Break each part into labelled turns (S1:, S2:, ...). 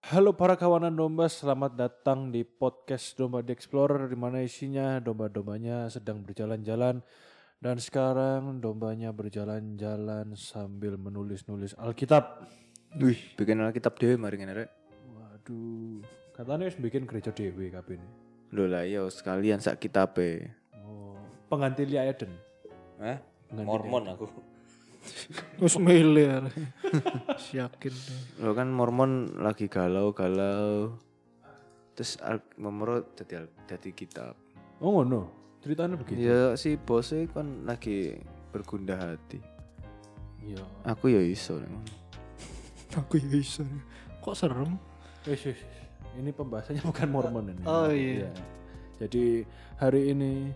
S1: Halo para kawanan domba, selamat datang di podcast Domba The Explorer di mana isinya domba-dombanya sedang berjalan-jalan dan sekarang dombanya berjalan-jalan sambil menulis-nulis Alkitab.
S2: Wih, bikin Alkitab dhewe mari ngene rek.
S1: Waduh, katanya harus bikin gereja dewi kabin.
S2: Lho lah iya sekalian sak kitabe.
S1: Oh, pengganti Lia Eden.
S2: Hah?
S1: Pengganti
S3: Mormon aku.
S4: Terus miliar. Yakin. deh.
S2: Lo kan Mormon lagi galau-galau. Terus al- memoro jadi al- jadi kitab.
S1: Oh ngono, ceritanya begitu.
S2: Ya si bosnya kan lagi bergundah hati.
S1: Iya.
S2: Aku ya iso Rek.
S4: Aku ya bisa. Kok serem?
S1: Wis, wis, wis. Ini pembahasannya bukan Mormon ini.
S4: Oh, iya.
S1: Iya. Jadi hari ini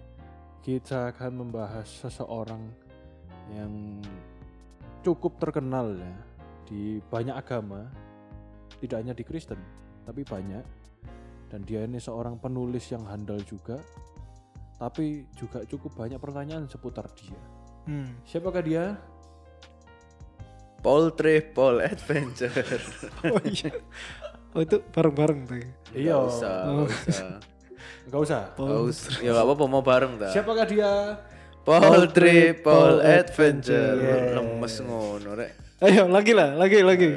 S1: kita akan membahas seseorang yang cukup terkenal ya di banyak agama, tidak hanya di Kristen, tapi banyak. Dan dia ini seorang penulis yang handal juga, tapi juga cukup banyak pertanyaan seputar dia.
S4: Hmm.
S1: Siapakah dia?
S2: Paul Trip, Paul Adventure.
S4: Oh iya. Oh itu bareng-bareng tuh.
S1: Iya,
S2: Gak usah, gak usah.
S1: nggak usah.
S2: Gak usah. Ya gak apa-apa mau bareng ta.
S1: Siapakah dia?
S2: Paul Trip, Paul Adventure.
S1: Yes.
S2: Lemes ngono rek.
S4: Ayo lagi lah, lagi lagi.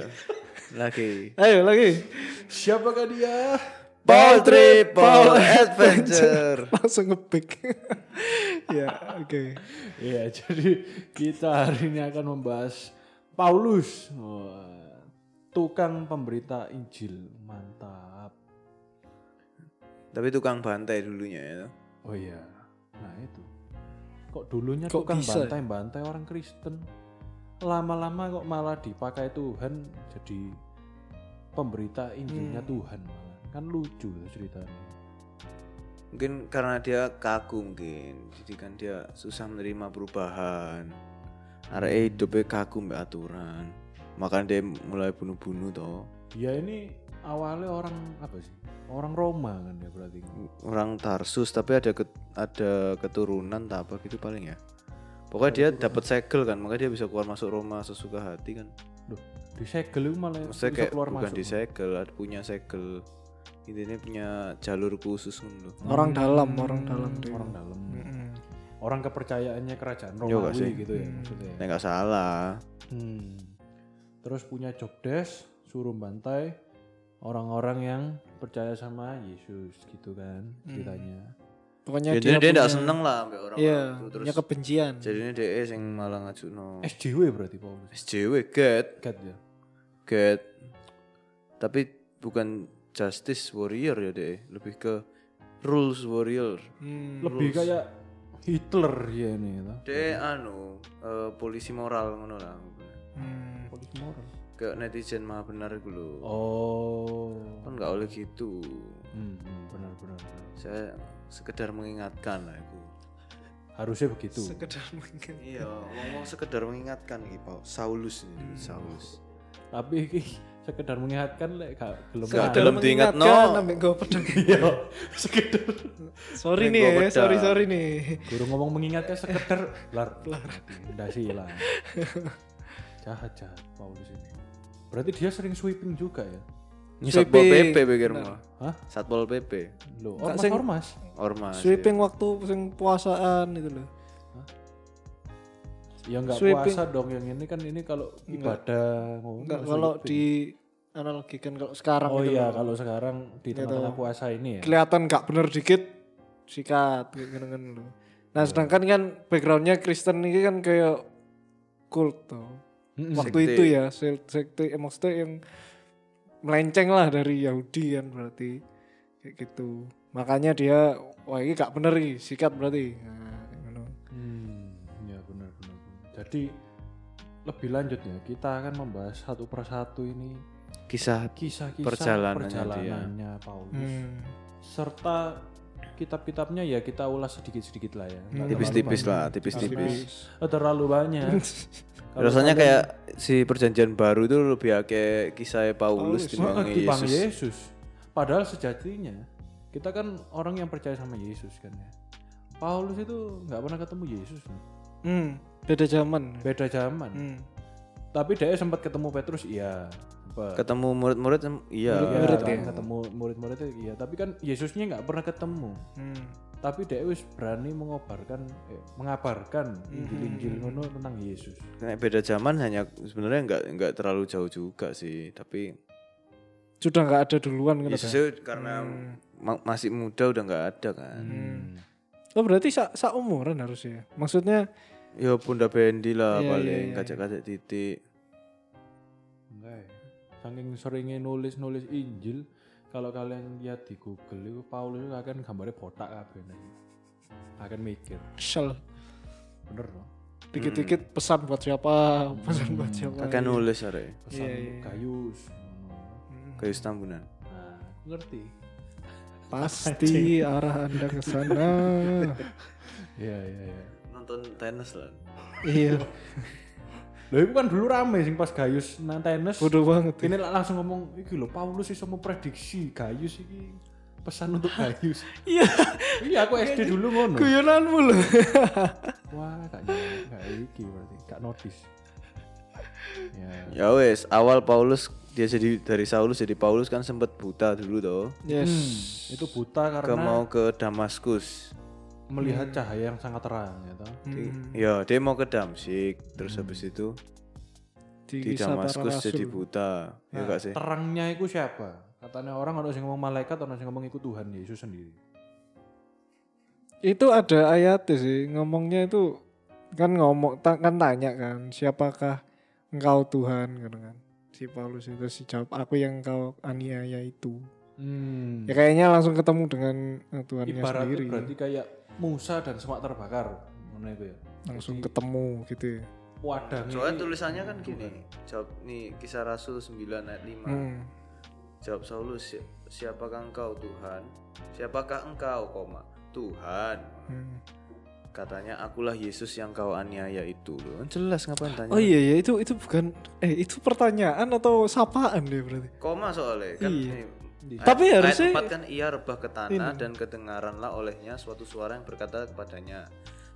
S2: Lagi.
S4: Ayo lagi.
S1: Siapakah dia?
S2: Paul Trip, Paul Adventure.
S4: Langsung ngepick. ya, oke.
S1: Iya, jadi kita hari ini akan membahas Paulus, Wah, tukang pemberita Injil, mantap.
S2: Tapi tukang bantai dulunya ya.
S1: Oh iya, nah itu. Kok dulunya
S4: Kok
S1: tukang
S4: bisa ya?
S1: bantai-bantai orang Kristen, lama-lama kok malah dipakai Tuhan jadi pemberita Injilnya Tuhan malah. Kan lucu tuh ceritanya.
S2: Mungkin karena dia kaku mungkin. Jadi kan dia susah menerima perubahan. Arek e hidupnya kaku mbak aturan. Makanya dia mulai bunuh-bunuh toh.
S1: Dia Ya, ini awalnya orang apa sih? Orang Roma kan ya berarti.
S2: Orang Tarsus tapi ada ket- ada keturunan tak apa gitu paling ya. Pokoknya dia dapat segel kan, makanya dia bisa keluar masuk Roma sesuka hati kan.
S1: Duh, disegel itu malah
S2: Maksudnya
S1: bisa
S2: kayak
S1: keluar
S2: bukan
S1: masuk.
S2: disegel, ada punya segel. Intinya punya jalur khusus ngono.
S4: Orang dalam, orang dalam
S1: Hmm,
S4: tuh. ya. Hmm.
S1: orang dalam
S4: Mm-mm.
S1: orang kepercayaannya kerajaan
S2: Yo, gak
S1: Romawi
S2: sih?
S1: gitu
S4: Hmm.
S1: ya maksudnya
S2: Nah, nggak salah.
S1: Hmm. terus punya job desk suruh bantai orang-orang yang percaya sama Yesus gitu kan
S4: Hmm.
S1: ceritanya
S4: Pokoknya
S2: Jadi dia tidak seneng lah ambek orang
S4: Iya,
S2: itu terus.
S4: punya kebencian.
S2: Jadinya DE sing malah ngajukno.
S1: SJW berarti Paulus
S2: SJW get
S1: Gat ya
S2: get. Tapi bukan justice warrior ya DE, lebih ke rules warrior.
S4: Hmm.
S1: lebih kayak Hitler ya ini gitu.
S2: DE anu eh, polisi moral ngono lah.
S4: Hmm.
S1: Polisi moral
S2: Ke netizen mah benar iku lho.
S1: oh
S2: Kan nggak oleh gitu.
S1: hmm, hmm, benar-benar
S2: Saya sekedar mengingatkan lah itu.
S1: harusnya begitu
S4: Sekedar mungkin.
S2: Iya, ngomong sekedar mengingatkan iki, Pak. Saulus ini, Saulus.
S1: tapi iki sekedar mengingatkan lek gak gelem
S2: Gak
S1: nang.
S2: gelem diingat, no.
S4: Sampai gue pedang.
S1: Iya, sekedar
S2: Sampai
S4: Sorry nih,
S2: gua
S4: ya,
S2: pedang.
S4: sorry sorry nih.
S1: Guru ngomong mengingatnya sekedar lar. Udah sih hilang. jahat jahat Paulus ini. Berarti dia sering sweeping juga ya?
S2: Satpol
S4: Sweeping.
S2: PP pikirmu.
S1: Hah?
S2: Satpol PP.
S1: Lo
S4: Nggak
S1: ormas
S4: sing-
S1: ormas.
S2: Ormas. ya.
S4: Sweeping waktu sing puasaan itu loh.
S1: Ya nggak
S4: Sweeping.
S1: puasa dong yang ini kan ini kalau ibadah ngono.
S4: Enggak kalau
S1: sweeping.
S4: di analogikan kalau sekarang
S1: Oh
S4: gitu
S1: iya
S4: loh.
S1: kalau sekarang di tengah-tengah puasa ini ya.
S4: kelihatan nggak bener dikit sikat kayak gini-gini loh. Nah
S1: Iya.
S4: sedangkan kan backgroundnya Kristen ini kan kayak kult tuh.
S1: Hmm.
S4: Waktu
S2: Sekte.
S4: itu ya se- sekte eh, maksudnya yang melenceng lah dari Yahudi kan berarti kayak gitu. Makanya dia wah ini gak bener nih sikat berarti. Nah, kayak gitu.
S1: Hmm, ya benar benar. benar. Jadi lebih lanjut ya kita akan membahas satu persatu ini
S2: Kisah
S1: kisah-kisah
S2: Perjalanannya dia.
S1: perjalanannya Paulus.
S4: Hmm.
S1: serta kitab-kitabnya ya kita ulas sedikit-sedikit lah ya. Nggak
S2: tipis-tipis
S1: terlalu
S2: lah, tipis-tipis.
S1: banyak. Eh, terlalu banyak. Kalau
S2: Rasanya
S1: kalian-
S2: kayak si perjanjian baru itu lebih akeh kisah Paulus
S1: Heeh,
S2: dibanding
S1: dibanding Yesus.
S2: Yesus.
S1: Padahal sejatinya kita kan orang yang percaya sama Yesus kan ya. Paulus itu nggak pernah ketemu Yesus.
S4: Hmm, beda zaman.
S1: Beda zaman.
S4: Hmm.
S1: Tapi dia sempat ketemu Petrus iya. Sempat.
S2: ketemu murid-murid em- iya
S1: Iya,
S4: murid
S1: kan,
S4: ya.
S1: ketemu murid-muridnya iya, tapi kan Yesusnya nggak pernah ketemu.
S4: Hmm.
S1: Tapi dia wis berani mengobarkan eh, mengabarkan Injil-Injil ngono tentang Yesus.
S2: Kayak beda zaman hanya sebenarnya nggak nggak terlalu jauh juga sih tapi
S4: Sudah nggak ada duluan
S2: Iya,
S4: kan. Ada. Hmm.
S2: Yesus karena ma- masih muda udah nggak ada kan
S1: Hmm.
S4: Oh berarti sa umuran harusnya. Maksudnya
S2: ya bunda Bendi lah
S4: Iya,
S2: paling
S4: iya, iya.
S2: kacak-kacak titik
S1: Enggak ya. Saking seringnya nulis-nulis Injil, kalau kalian lihat di Google itu Paulus itu akan gambarnya botak kabeh nih. Akan mikir,
S4: shell
S1: bener loh.
S2: Hmm.
S4: dikit-dikit pesan buat siapa, pesan buat siapa.
S2: kakek nulis are
S1: Pesan
S4: Iya, iya, iya.
S1: gayus.
S2: kayu tambunan
S1: Nah, aku ngerti.
S4: Pasti arah Anda ke sana.
S1: Iya, iya, iya.
S2: nonton tenis lah
S4: iya,
S1: Loh, itu kan dulu rame sing pas gayus nang tenis.
S4: bodoh banget. ya.
S1: Ini lah langsung ngomong, iki lho Paulus iso memprediksi gayus iki pesan untuk gayus.
S4: Iya,
S1: iya, aku SD dulu ngono.
S4: guyonanmu loh.
S1: Wah, gak nyampe, gak iki berarti, gak notice. Ya.
S2: ya wes awal Paulus dia jadi dari Saulus jadi Paulus kan sempet buta dulu toh
S4: Yes.
S1: Hmm, itu buta
S2: ke
S1: karena
S2: mau ke Damaskus Hmm.
S1: melihat cahaya yang sangat terang gitu.
S2: Di-
S4: Hmm.
S2: ya dia mau ke Damsik terus habis itu di
S4: kisah para
S2: Damaskus
S4: rasul. Nah,
S2: jadi buta ya gak sih
S1: Terangnya itu siapa? Katanya orang ada yang ngomong malaikat, ada yang ngomong itu Tuhan Yesus sendiri.
S4: Itu ada ayat sih ngomongnya itu kan ngomong ta- kan tanya kan siapakah engkau Tuhan gitu kan. Si Paulus itu si jawab aku yang engkau aniaya itu.
S1: Hmm.
S4: Ya kayaknya langsung ketemu dengan eh, Tuhannya
S1: Ibaratnya
S4: sendiri.
S1: berarti kayak Musa dan semak terbakar, mana itu ya?
S4: Langsung ketemu gitu ya.
S1: Wadahnya
S2: Soalnya
S1: ini-
S2: tulisannya kan gini, jawab nih kisah Rasul 9 ayat
S1: Nah.
S2: 5.
S4: Hmm.
S2: Jawab Saulus, "Si- siapakah engkau Tuhan? Siapakah engkau, koma? Tuhan.
S4: hmm.
S2: Katanya akulah Yesus yang kau aniaya itu. Loh, kan jelas ngapain tanya.
S4: Oh iya ya itu itu bukan eh itu pertanyaan atau sapaan deh berarti.
S2: Koma soalnya kan.
S4: Iya.
S2: eh,
S4: Tapi
S2: ayat-
S4: harusnya-
S2: ayat 4 kan ia rebah ke tanah dan kedengaranlah olehnya suatu suara yang berkata kepadanya,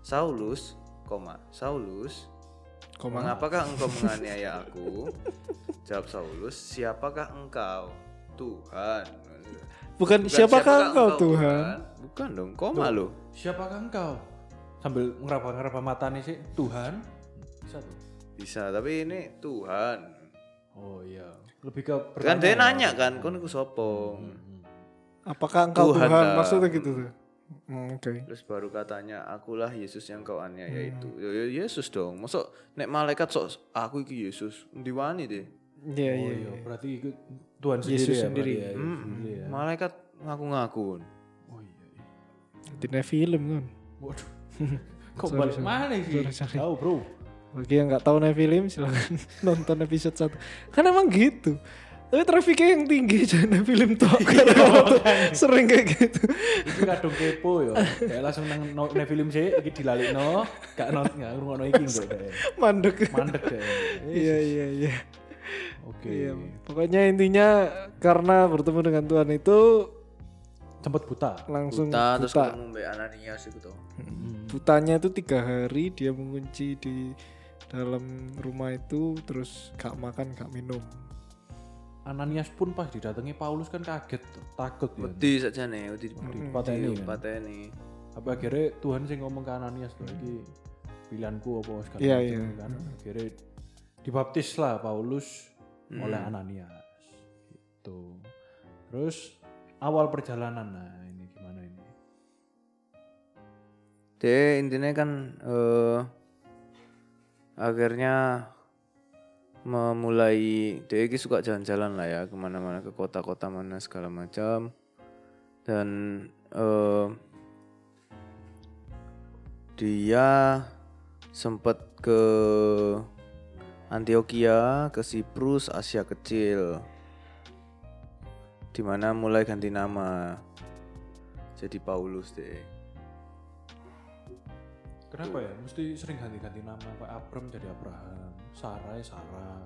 S2: Saulus, koma, Saulus,
S4: Koma.
S2: Mengapakah engkau menganiaya aku? Jawab Saulus, siapakah engkau? Tuhan.
S4: Bukan, siapakah engkau Tuhan?
S2: Bukan dong, koma lo.
S1: Siapakah engkau? Sambil ngeraba-ngeraba mata nih sih, Tuhan. Bisa tuh.
S2: Bisa, tapi ini Tuhan.
S1: Oh iya. Lebih ke Hmm,
S2: Kan
S1: pertanyaan.
S2: dia nanya kan, kon aku sopo.
S4: Apakah engkau
S2: Tuhan
S4: Tuhan?
S2: lah.
S4: Maksudnya gitu tuh. Hmm, Oke.
S2: Terus baru katanya, akulah Yesus yang kau aniaya
S1: Hmm.
S2: itu. Ya, ya, Yesus dong. Masuk nek malaikat sok aku iki Yesus. Diwani deh.
S4: Iya
S1: Oh
S4: iya.
S1: iya, berarti itu Tuhan sendiri
S4: Yesus
S1: ya, berarti
S4: sendiri.
S1: ya,
S2: Hmm.
S1: Yesus sendiri ya.
S2: Malaikat ngaku-ngaku.
S1: Oh iya. iya.
S4: Tidak film kan.
S1: Waduh. Kok balik mana sih? Tahu, Bro.
S4: Bagi yang nggak tahu Nephilim silahkan nonton episode 1 Kan emang gitu. Tapi trafiknya yang tinggi jangan Nephilim tok.
S1: Iya,
S4: Karena orang tuh sering kayak gitu.
S1: Iki kadung kepo ya. Kayak langsung nang no, ne film sih iki dilalekno, gak not gak ngrungokno iki kok. deh.
S4: Mandek.
S1: Mandek deh. Eh,
S4: Iya iya iya.
S1: Oke.
S4: Iya. Pokoknya intinya karena bertemu dengan Tuhan itu
S1: Tempat buta.
S4: langsung
S2: Nah,
S4: buta.
S2: terus ketemu Mbak Ananias itu tuh.
S1: Mm-hmm.
S4: Butanya itu tiga hari dia mengunci di dalam rumah itu terus gak makan gak minum.
S1: Ananias pun pas didatangi Paulus kan kaget, takut ya.
S2: Wedi saja nih, wedi
S1: Dipateni kan.
S2: dipateni.
S1: Apa akhirnya Tuhan sih ngomong ke Ananias tuh iki pilihanku apa segala
S4: Iya,
S1: macam
S4: iya.
S1: kan. Akhirnya dibaptis lah Paulus oleh Ananias. Gitu. Terus awal perjalanan nah ini gimana ini?
S2: Dia intinya kan eh, akhirnya memulai dia ini suka jalan-jalan lah ya kemana-mana ke kota-kota mana segala macam dan eh, dia sempat ke Antioquia ke Siprus Asia Kecil dimana mulai ganti nama jadi Paulus deh
S1: Kenapa ya? Mesti sering ganti-ganti nama kayak Abram jadi Abraham, Sarah ya Sarah.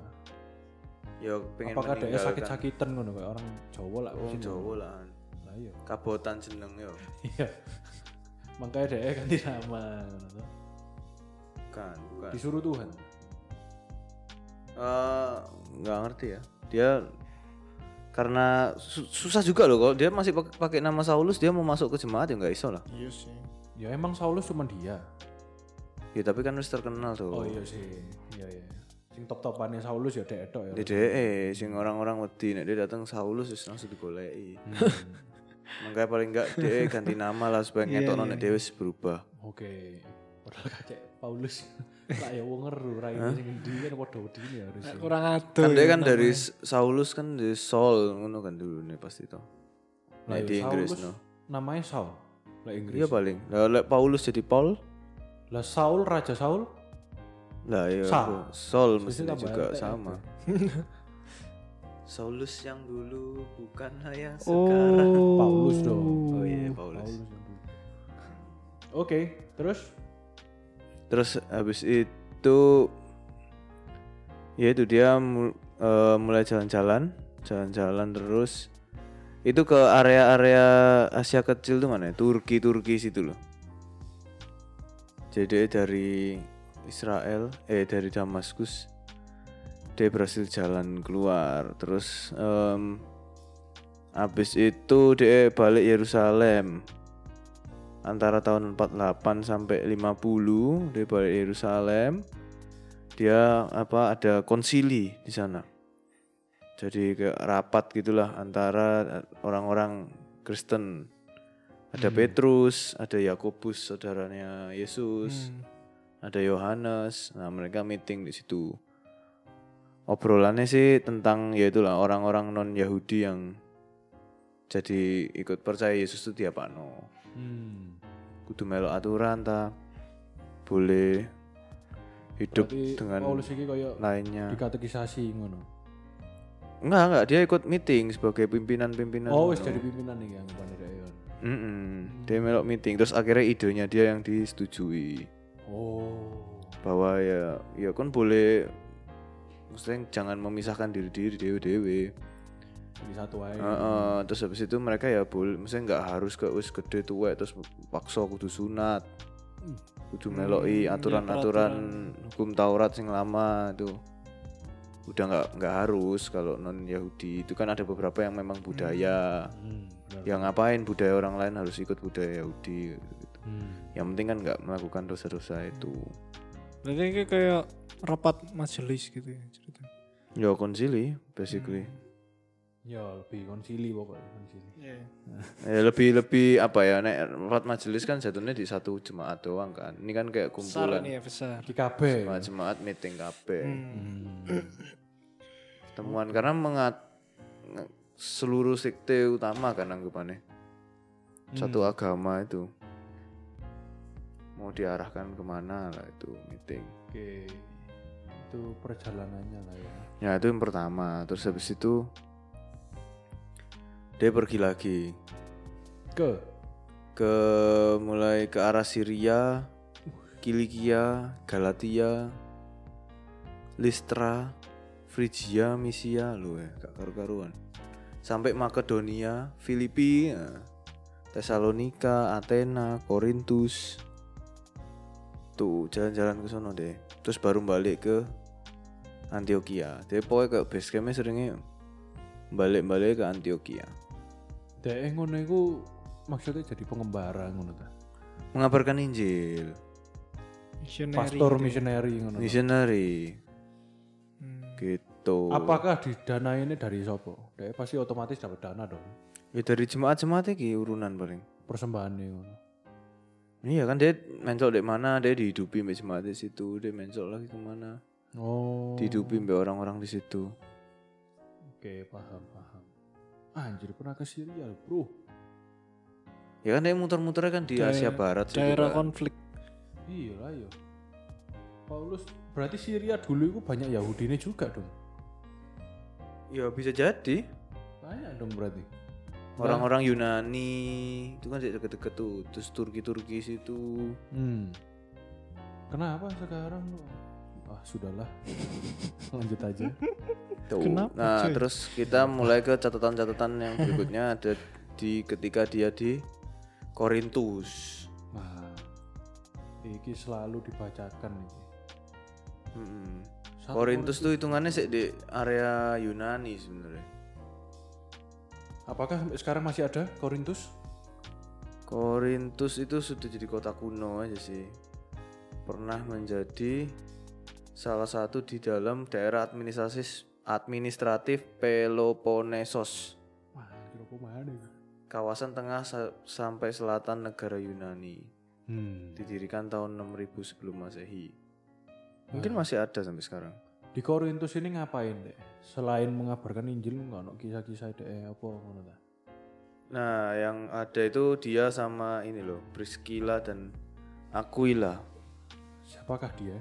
S2: Ya pengen
S1: Apakah ada
S2: meninggalkan
S1: sakit-sakitan ngono kayak orang Jawa lah
S2: wong
S1: mesti
S2: Jawa lah.
S1: ngono. Lah iya.
S2: Kabotan jeneng yo.
S1: Iya. Makanya dia ganti nama. ngono toh.
S2: Nah. Bukan, bukan.
S1: Disuruh Tuhan.
S2: Eh, nggak ngerti ya dia karena su- susah juga loh kalau dia masih pak- pakai nama Saulus dia mau masuk ke jemaat ya nggak iso lah
S4: Iya sih.
S1: Ya emang Saulus cuma dia.
S2: ya tapi kan harus terkenal tuh
S1: Oh iya sih. Iya iya. Sing top-topannya Saulus ya dek edok ya.
S2: DDE E, sing orang-orang wedi nek dia datang Saulus wis langsung digoleki
S1: Hmm.
S2: makanya paling enggak dia ganti nama lah supaya
S1: Iya,
S2: ngetokno nek dhewe wis berubah
S1: Oke. Padahal kakek Paulus tak ya wong ngeru ra ini sing endi kan padha wedine ya harusnya.
S4: Kurang
S2: kan
S4: ada.
S2: dia kan dari S- Saulus kan dari Saul ngono kan dulu nih pasti toh
S1: Lah, ya,
S2: nek di Inggris
S1: Saulus
S2: no
S1: Namanya Saul. Lah Inggris.
S2: iya paling lah lek Paulus jadi Paul
S1: Lah Saul raja Saul.
S2: lah iya
S1: Saul.
S2: bro. Saul
S1: Terus
S2: mestinya
S1: tambah
S2: juga
S1: RT
S2: sama Saulus yang dulu bukan yang sekarang
S4: Oh.
S1: Paulus dong.
S2: oh iya Paulus
S1: Paulus yang dulu. Oke, terus
S2: Terus habis itu ya itu dia mul- eh, mulai jalan-jalan, jalan-jalan terus itu ke area-area Asia kecil tuh mana? ya? Turki, Turki situ loh. Jadi dari Israel, eh dari Damaskus, dia berhasil jalan keluar. Terus em, habis itu dia balik Yerusalem antara tahun 48 sampai 50 dia balik Yerusalem dia apa ada konsili di sana jadi kayak rapat gitulah antara eh, orang-orang Kristen ada Petrus ada Yakobus saudaranya Yesus ada Yohanes nah mereka meeting di situ obrolannya sih tentang ya itulah orang-orang non Yahudi yang jadi ikut percaya Yesus itu tiap ano
S1: hmm,
S2: kudu melo aturan ta boleh hidup
S1: berarti
S2: dengan nah.
S1: Paulus iki koyo
S2: lainnya
S1: dikatekisasi ngono.
S2: enggak enggak dia ikut meeting sebagai pimpinan-pimpinan
S1: Oh, wis
S2: ngono.
S1: jadi pimpinan Hmm. iki yang bukan dari Aeon.
S2: Mm-mm. dia melo meeting terus akhirnya idenya dia yang disetujui
S1: Oh.
S2: bahwa ya ya kan boleh maksudnya jangan memisahkan diri diri dewe dewe
S1: Jadi satu aja.
S4: Iya.
S2: Heeh, terus habis itu mereka ya boleh maksudnya nggak harus ke wis gede tuwek terus paksa kudu sunat kudu
S4: Hmm,
S2: meloki
S4: iya,
S2: aturan-aturan hukum Taurat sing lama itu udah nggak nggak harus kalau non Yahudi itu kan ada beberapa yang memang budaya
S1: Hmm, benar.
S2: yang ngapain budaya orang lain harus ikut budaya Yahudi gitu.
S1: Hmm.
S2: yang penting kan nggak melakukan dosa-dosa itu
S4: Berarti ini kayak rapat majelis gitu ya ceritanya.
S2: ya konsili basically
S4: Hmm.
S1: Ya lebih konsili pokoknya konsili.
S4: Iya.
S2: ya lebih lebih apa ya nek rapat majelis kan jatuhnya di satu jemaat doang kan ini kan kayak
S4: Besar
S2: kumpulan
S4: ini ya besar.
S1: Di KB.
S2: jemaat-jemaat meeting kabeh
S1: Hmm.
S2: temuan karena mengat nge- seluruh sekte utama kan anggapannya satu agama itu mau diarahkan kemana lah itu meeting
S1: Oke. Itu perjalanannya lah ya.
S2: ya itu yang pertama terus habis itu dia pergi lagi
S1: Ke
S2: ke mulai ke arah Syria Kilikia Galatia Listra Frigia Misia lu ya gak karu-karuan sampai Makedonia Filipi eh, Tesalonika Athena Korintus tuh jalan-jalan ke sono deh terus baru balik ke Antioquia dia pokoknya ke base campnya seringnya balik-balik ke Antioquia
S1: Dek ngono iku maksudnya jadi pengembara ngono ta.
S2: mengabarkan Injil
S4: Missionary
S1: Pastor
S4: gitu.
S1: missionary ngono. ta?
S2: missionary
S4: Hmm.
S2: gitu
S1: Apakah didanainnya dari sopo? Dek pasti otomatis dapat dana dong.
S2: ya dari jemaat-jemaat iki urunan paling
S1: Persembahannya ngono.
S2: iya kan dia mencok dari mana dia dihidupi mbak jemaat di situ dia mencok lagi kemana
S1: Oh.
S2: dihidupi mbak orang-orang di situ
S1: Oke, paham, paham. Ah, Anjir, pernah ke Syria, Bro.
S2: ya kan dia muter-muternya kan di
S4: Daerah-
S2: Asia Barat situ
S4: Daerah
S2: kan.
S4: konflik.
S1: Iya lah ya. Paulus berarti Syria dulu itu banyak Yahudine juga dong.
S2: ya bisa jadi
S1: Banyak dong berarti.
S2: orang-orang Yunani itu kan di deket-deket tuh terus Turki-Turki situ
S1: Hmm. Kenapa sekarang kok? Ah, sudahlah. Lanjut aja.
S2: Tuh.
S4: Kenapa,
S2: nah
S4: coy?
S2: terus kita mulai ke catatan-catatan yang berikutnya ada di ketika dia di Korintus
S1: Nah, ini selalu dibacakan ini.
S2: Mm-mm.
S1: Satu
S2: Korintus tuh hitungannya sih di area Yunani sebenarnya.
S1: Apakah sampai sekarang masih ada Korintus?
S2: Korintus itu sudah jadi kota kuno aja sih. Pernah menjadi salah satu di dalam daerah administratif administratif Peloponnesos,
S1: Wah, kira apa mana ya?
S2: kawasan tengah sa- sampai selatan negara Yunani.
S1: Hmm.
S2: Didirikan tahun 6000 sebelum Masehi. Mungkin masih ada sampai sekarang.
S1: Di Korintus ini ngapain deh? Selain mengabarkan Injil nggak ono kisah-kisah deh apa ngono ta?
S2: Nah, yang ada itu dia sama ini loh, Priscilla dan Aquila.
S1: Siapakah dia?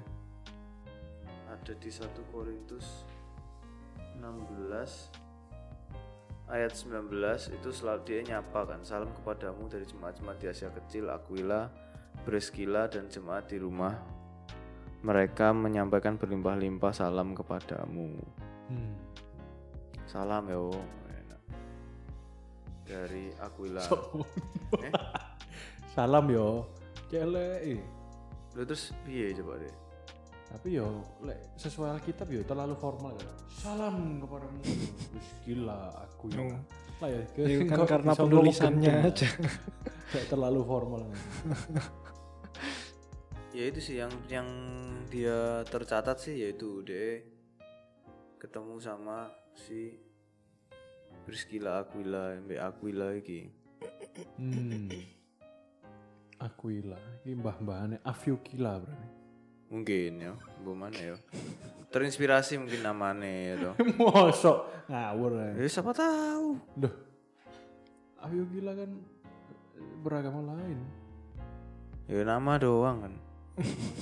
S2: Ada di 1 Korintus 16 ayat 19 itu selalu dia nyapa kan, salam kepadamu dari jemaat-jemaat di Asia Kecil, Aquila, Priscilla dan jemaat di rumah. Mereka menyampaikan berlimpah-limpah salam kepadamu.
S1: Hmm.
S2: Salam yo. Enak. Dari Aquila. Eh?
S1: Salam yo. Celek. eh.
S2: Lu terus piye coba deh?
S1: Tapi yo lek sesuai Alkitab yo terlalu formal ya. Salam kepadamu. Wis gila aku ya.
S4: Oh.
S1: Lah ya,
S4: Iya kan
S1: kok
S4: karena
S1: bisa ngomong
S4: penulisannya
S1: kenceng,
S4: aja.
S1: ya. Kayak terlalu formal. ya.
S2: ya itu sih yang yang dia tercatat sih yaitu de ketemu sama si Priscilla Aquila Mbak Aquila iki
S1: Hmm. Aquila, ini mbah-mbahane Afiukila berarti.
S2: mungkin ya gimana ya terinspirasi mungkin namanya ya toh.
S1: Mosok ngawur ya.
S2: ya siapa tahu
S1: Duh. Afiukila kan beragama lain.
S2: ya nama doang kan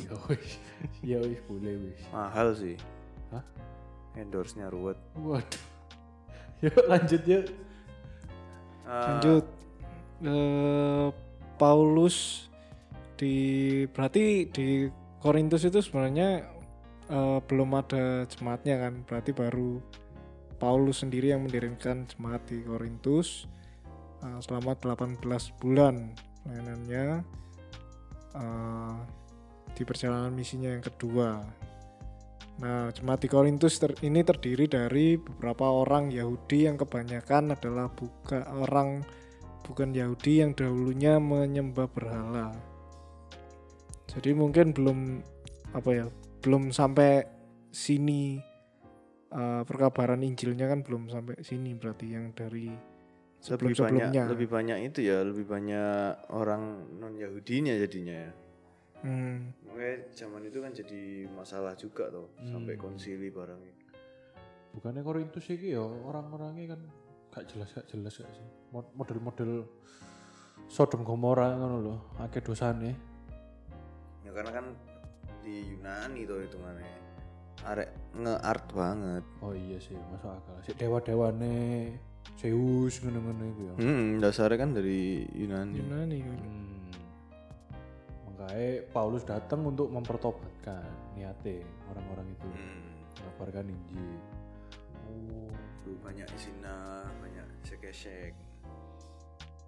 S1: Ya wis, ya wis boleh wis.
S2: mahal sih
S1: Hah?
S2: endorse nya ruwet
S1: Waduh. Yuk lanjut yuk.
S2: Ah,
S4: Lanjut. Eh, Paulus di berarti di Korintus itu sebenarnya eh, belum ada jemaatnya kan. Berarti baru Paulus sendiri yang mendirikan jemaat di Korintus eh, selama 18 bulan pelayanannya eh, di perjalanan misinya yang kedua. Nah, jemaat di Korintus ter- ini terdiri dari beberapa orang Yahudi yang kebanyakan adalah buka orang bukan Yahudi yang dahulunya menyembah berhala. Jadi mungkin belum apa ya, belum sampai sini eh, perkabaran Injilnya kan belum sampai sini berarti yang dari
S2: lebih
S4: sebelum-sebelumnya.
S2: banyak lebih banyak itu ya lebih banyak orang non Yahudinya jadinya ya
S4: Hmm.
S2: Makanya zaman itu kan jadi masalah juga tuh sampai konsili barang itu.
S1: Bukannya Korintus iki ya orang-orangnya kan gak jelas gak jelas gak sih. Mod- Model-model Sodom Gomora ngono lho, akeh dosane.
S2: Ya karena kan di Yunani tuh hitungannya arek nge-art banget.
S1: Oh iya sih, masuk akal. Si dewa-dewane Zeus ngono-ngono iku ya.
S2: Hmm, dasarnya kan dari Yunani.
S4: Yunani kan.
S1: Hmm. Makanya Paulus datang untuk mempertobatkan niatnya orang-orang itu.
S2: Hmm.
S1: Mengabarkan Injil. Oh.
S2: Tuh banyak isina, banyak sekesek.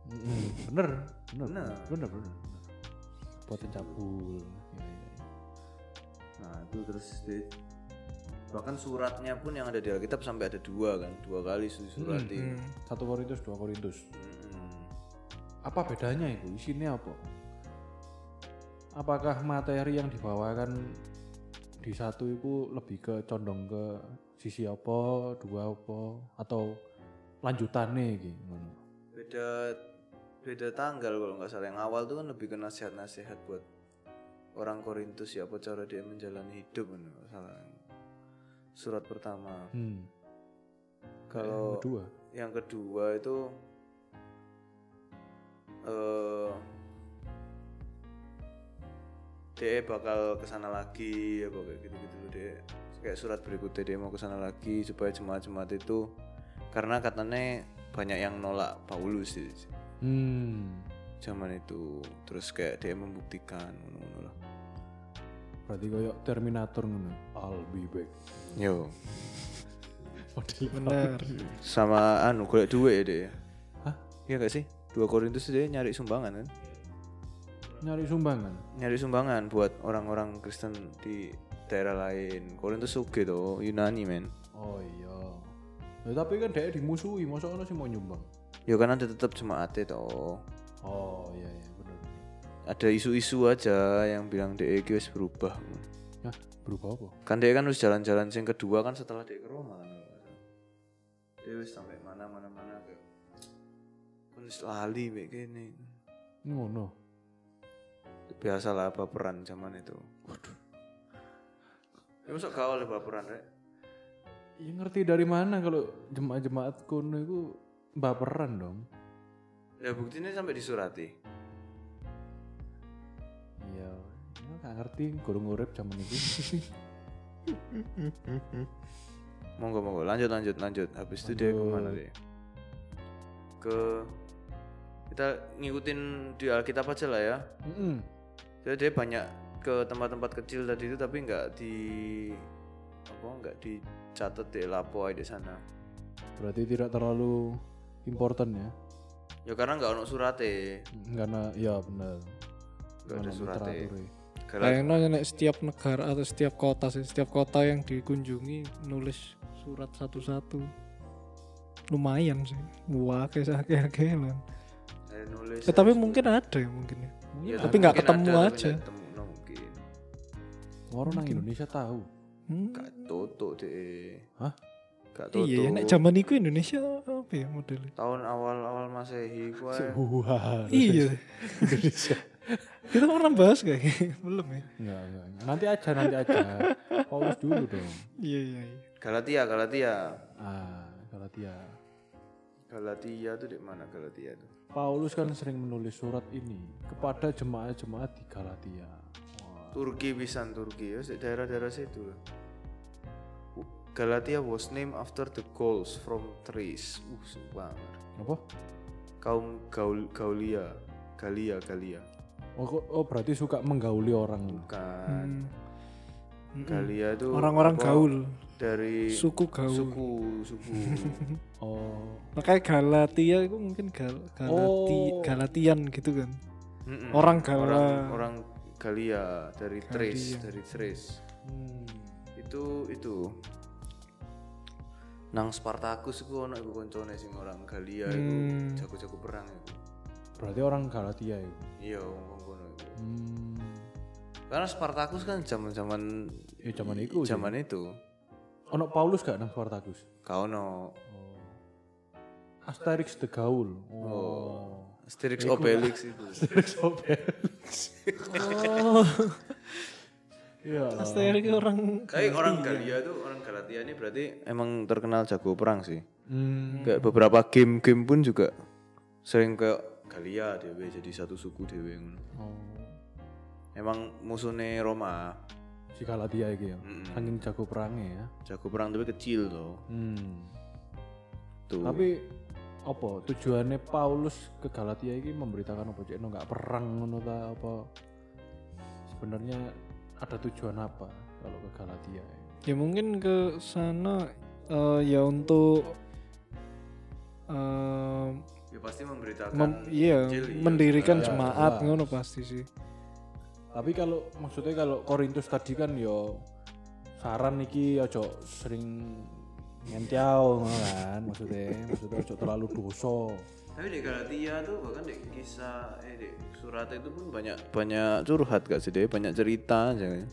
S1: Mm-mm. Hmm, Bener, bener,
S2: Bener.
S1: bener, bener, bener. Buatin cabul. Ya, ya, ya.
S2: Nah, itu terus di- bahkan suratnya pun yang ada di Alkitab sampai ada dua kan, dua kali disuratin.
S4: Hmm.
S1: Satu Korintus, dua Korintus.
S2: Hmm.
S1: Apa bedanya itu? Isinya apa? Apakah materi yang dibawakan di satu itu lebih ke condong ke sisi apa, dua apa, atau lanjutannya gitu?
S2: beda beda tanggal kalau nggak salah yang awal tuh kan lebih ke nasihat-nasihat buat orang Korintus ya apa cara dia menjalani hidup kan, nggak salah surat pertama
S1: Hmm.
S2: kalau
S1: Yang kedua,
S2: yang kedua itu eh dia E bakal kesana lagi ya kayak gitu gitu deh kayak surat berikutnya dia mau kesana lagi supaya jemaat-jemaat itu karena katanya banyak yang nolak Paulus sih
S1: hmm.
S2: zaman itu terus kayak dia membuktikan ngono-ngono lah
S1: berarti kayak Terminator ngono. I'll be back.
S2: yo
S1: Model
S4: Benar.
S2: sama anu golek duit ya dia ya.
S1: Hah?
S2: iya gak sih dua Korintus dia nyari sumbangan kan
S1: Nyari sumbangan.
S2: nyari sumbangan buat orang-orang Kristen di daerah lain Korintus suge tuh Yunani men
S1: Oh iya. Ya, tapi kan dia dimusuhi, masa ono sih mau nyumbang.
S2: ya kan ada tetap jemaatnya toh
S1: Oh iya iya bener.
S2: ada isu-isu aja yang bilang DEQ wis berubah
S1: Ya, berubah apa?
S2: kan dia kan harus jalan-jalan sing kedua kan setelah dia ke Roma kan dia wis sampai mana mana mana ke pun wis lali kayak gini
S1: Ngono.
S2: biasalah baperan zaman itu waduh ya masuk kau oleh baperan rek
S1: Ya ngerti dari mana kalau jemaat-jemaat kuno itu baperan dong.
S2: ya buktinya sampai disurati
S1: Iya, ya gak ngerti gurung urip zaman itu.
S2: monggo monggo lanjut lanjut lanjut habis itu dia
S1: Lanjut.
S2: kemana deh ke kita ngikutin di Alkitab aja lah ya
S1: Heeh.
S2: jadi dia banyak ke tempat-tempat kecil tadi itu tapi nggak di apa nggak dicatat di lapo aja di sana
S1: Berarti tidak terlalu important ya.
S2: ya karena nggak ono surate
S1: Karena ya benar.
S2: nggak ada
S1: Karena
S2: surate
S1: literaturnya.
S2: Gara-
S4: Kayaknya nek setiap negara atau setiap kota sih, setiap kota yang dikunjungi nulis surat satu-satu. Lumayan sih. Wah, kayak akeh-akeh lah.
S2: eh, nulis
S4: Eh, tapi mungkin ada ya mungkin ya.
S2: Ya,
S4: tapi nggak
S2: mungkin
S4: ketemu
S2: ada, tapi
S4: aja.
S2: nggak ketemu, no, mungkin
S1: Orang nang Indonesia tahu.
S4: Hmm,
S2: nggak tutup deh
S1: Hah?
S2: nggak tutup
S4: iya, nek zaman itu Indonesia apa ya modelnya?
S2: tahun awal-awal masehi gua
S1: Wah.
S4: Iya,
S1: Indonesia.
S4: kita pernah bahas kayak belum ya?
S1: Enggak, enggak. enggak. Nanti aja, nanti aja. Pause dulu dong.
S4: Iya iya. iya.
S2: Galatia Galatia
S1: Ah, Galatia.
S2: Galatia tuh di mana Galatia tuh?
S1: Paulus kan sering menulis surat ini kepada jemaat-jemaat di Galatia. Wah.
S2: Turki pisan Turki ya sik daerah-daerah situ lah. U- Galatia was named after the Gauls from Thrace. Uh, seru banget.
S1: Apa?
S2: Kaum Gaul Gaulia, Galia, Galia.
S1: Oh, kok- oh, berarti suka menggauli orang.
S2: Bukan.
S4: Hmm. Mm-mm.
S2: Galia tuh
S4: Orang-orang
S2: apa?
S4: gaul,
S2: dari
S4: suku gaul.
S2: suku suku.
S1: Oh,
S4: Makanya Galatia itu mungkin gal Galati
S1: Oh.
S4: Galatian gitu kan.
S2: Mm-mm.
S4: Orang Gala.
S2: Orang, orang Galia dari Thrace,
S4: Galia.
S2: dari Thrace.
S1: hmm.
S2: itu itu nang Spartacus iku ono iku koncone sing orang Galia iku
S4: Hmm.
S2: jago-jago perang iku
S1: berarti orang Galatia itu.
S2: iya wong kono iku
S1: Hmm.
S2: karena Spartacus kan zaman-zaman
S1: Ya zaman itu. sih.
S2: zaman itu
S1: Ono Paulus gak nang Spartacus?
S2: kau no
S1: Oh. Asterix the Gaul. Oh.
S2: Asterix Obelix itu
S1: Asterix Obelix.
S4: Oh,
S1: Iya.
S4: Asterix orang
S2: tapi orang Galia tuh orang Galatia ini berarti emang terkenal jago perang sih
S1: Hmm.
S2: kayak beberapa game-game pun juga sering ke Galia dewe jadi satu suku dewe ngono.
S1: Oh.
S2: emang musuhnya Roma
S1: Si Galatia iki ya.
S2: Mm-mm.
S1: Angin jago perangnya ya.
S2: jago perang tapi kecil loh
S1: Hmm.
S2: tuh
S1: Tapi apa tujuannya Paulus ke Galatia ini memberitakan apa cek nggak perang ngono ta apa sebenarnya ada tujuan apa kalau ke Galatia ini?
S4: ya mungkin ke sana eh, ya untuk eh,
S2: ya pasti memberitakan
S4: mem- iya,
S2: Injil, iya,
S4: mendirikan
S1: Iya,
S4: jemaat
S1: jelas.
S4: ngono pasti sih.
S1: tapi kalau maksudnya kalau Korintus tadi kan yo saran iki ojo sering ngentiau ngono kan maksudnya maksudnya ojo terlalu dosa
S2: tapi di Galatia tuh bahkan di kisah eh di surat itu pun banyak banyak curhat gak sih deh banyak cerita aja kan.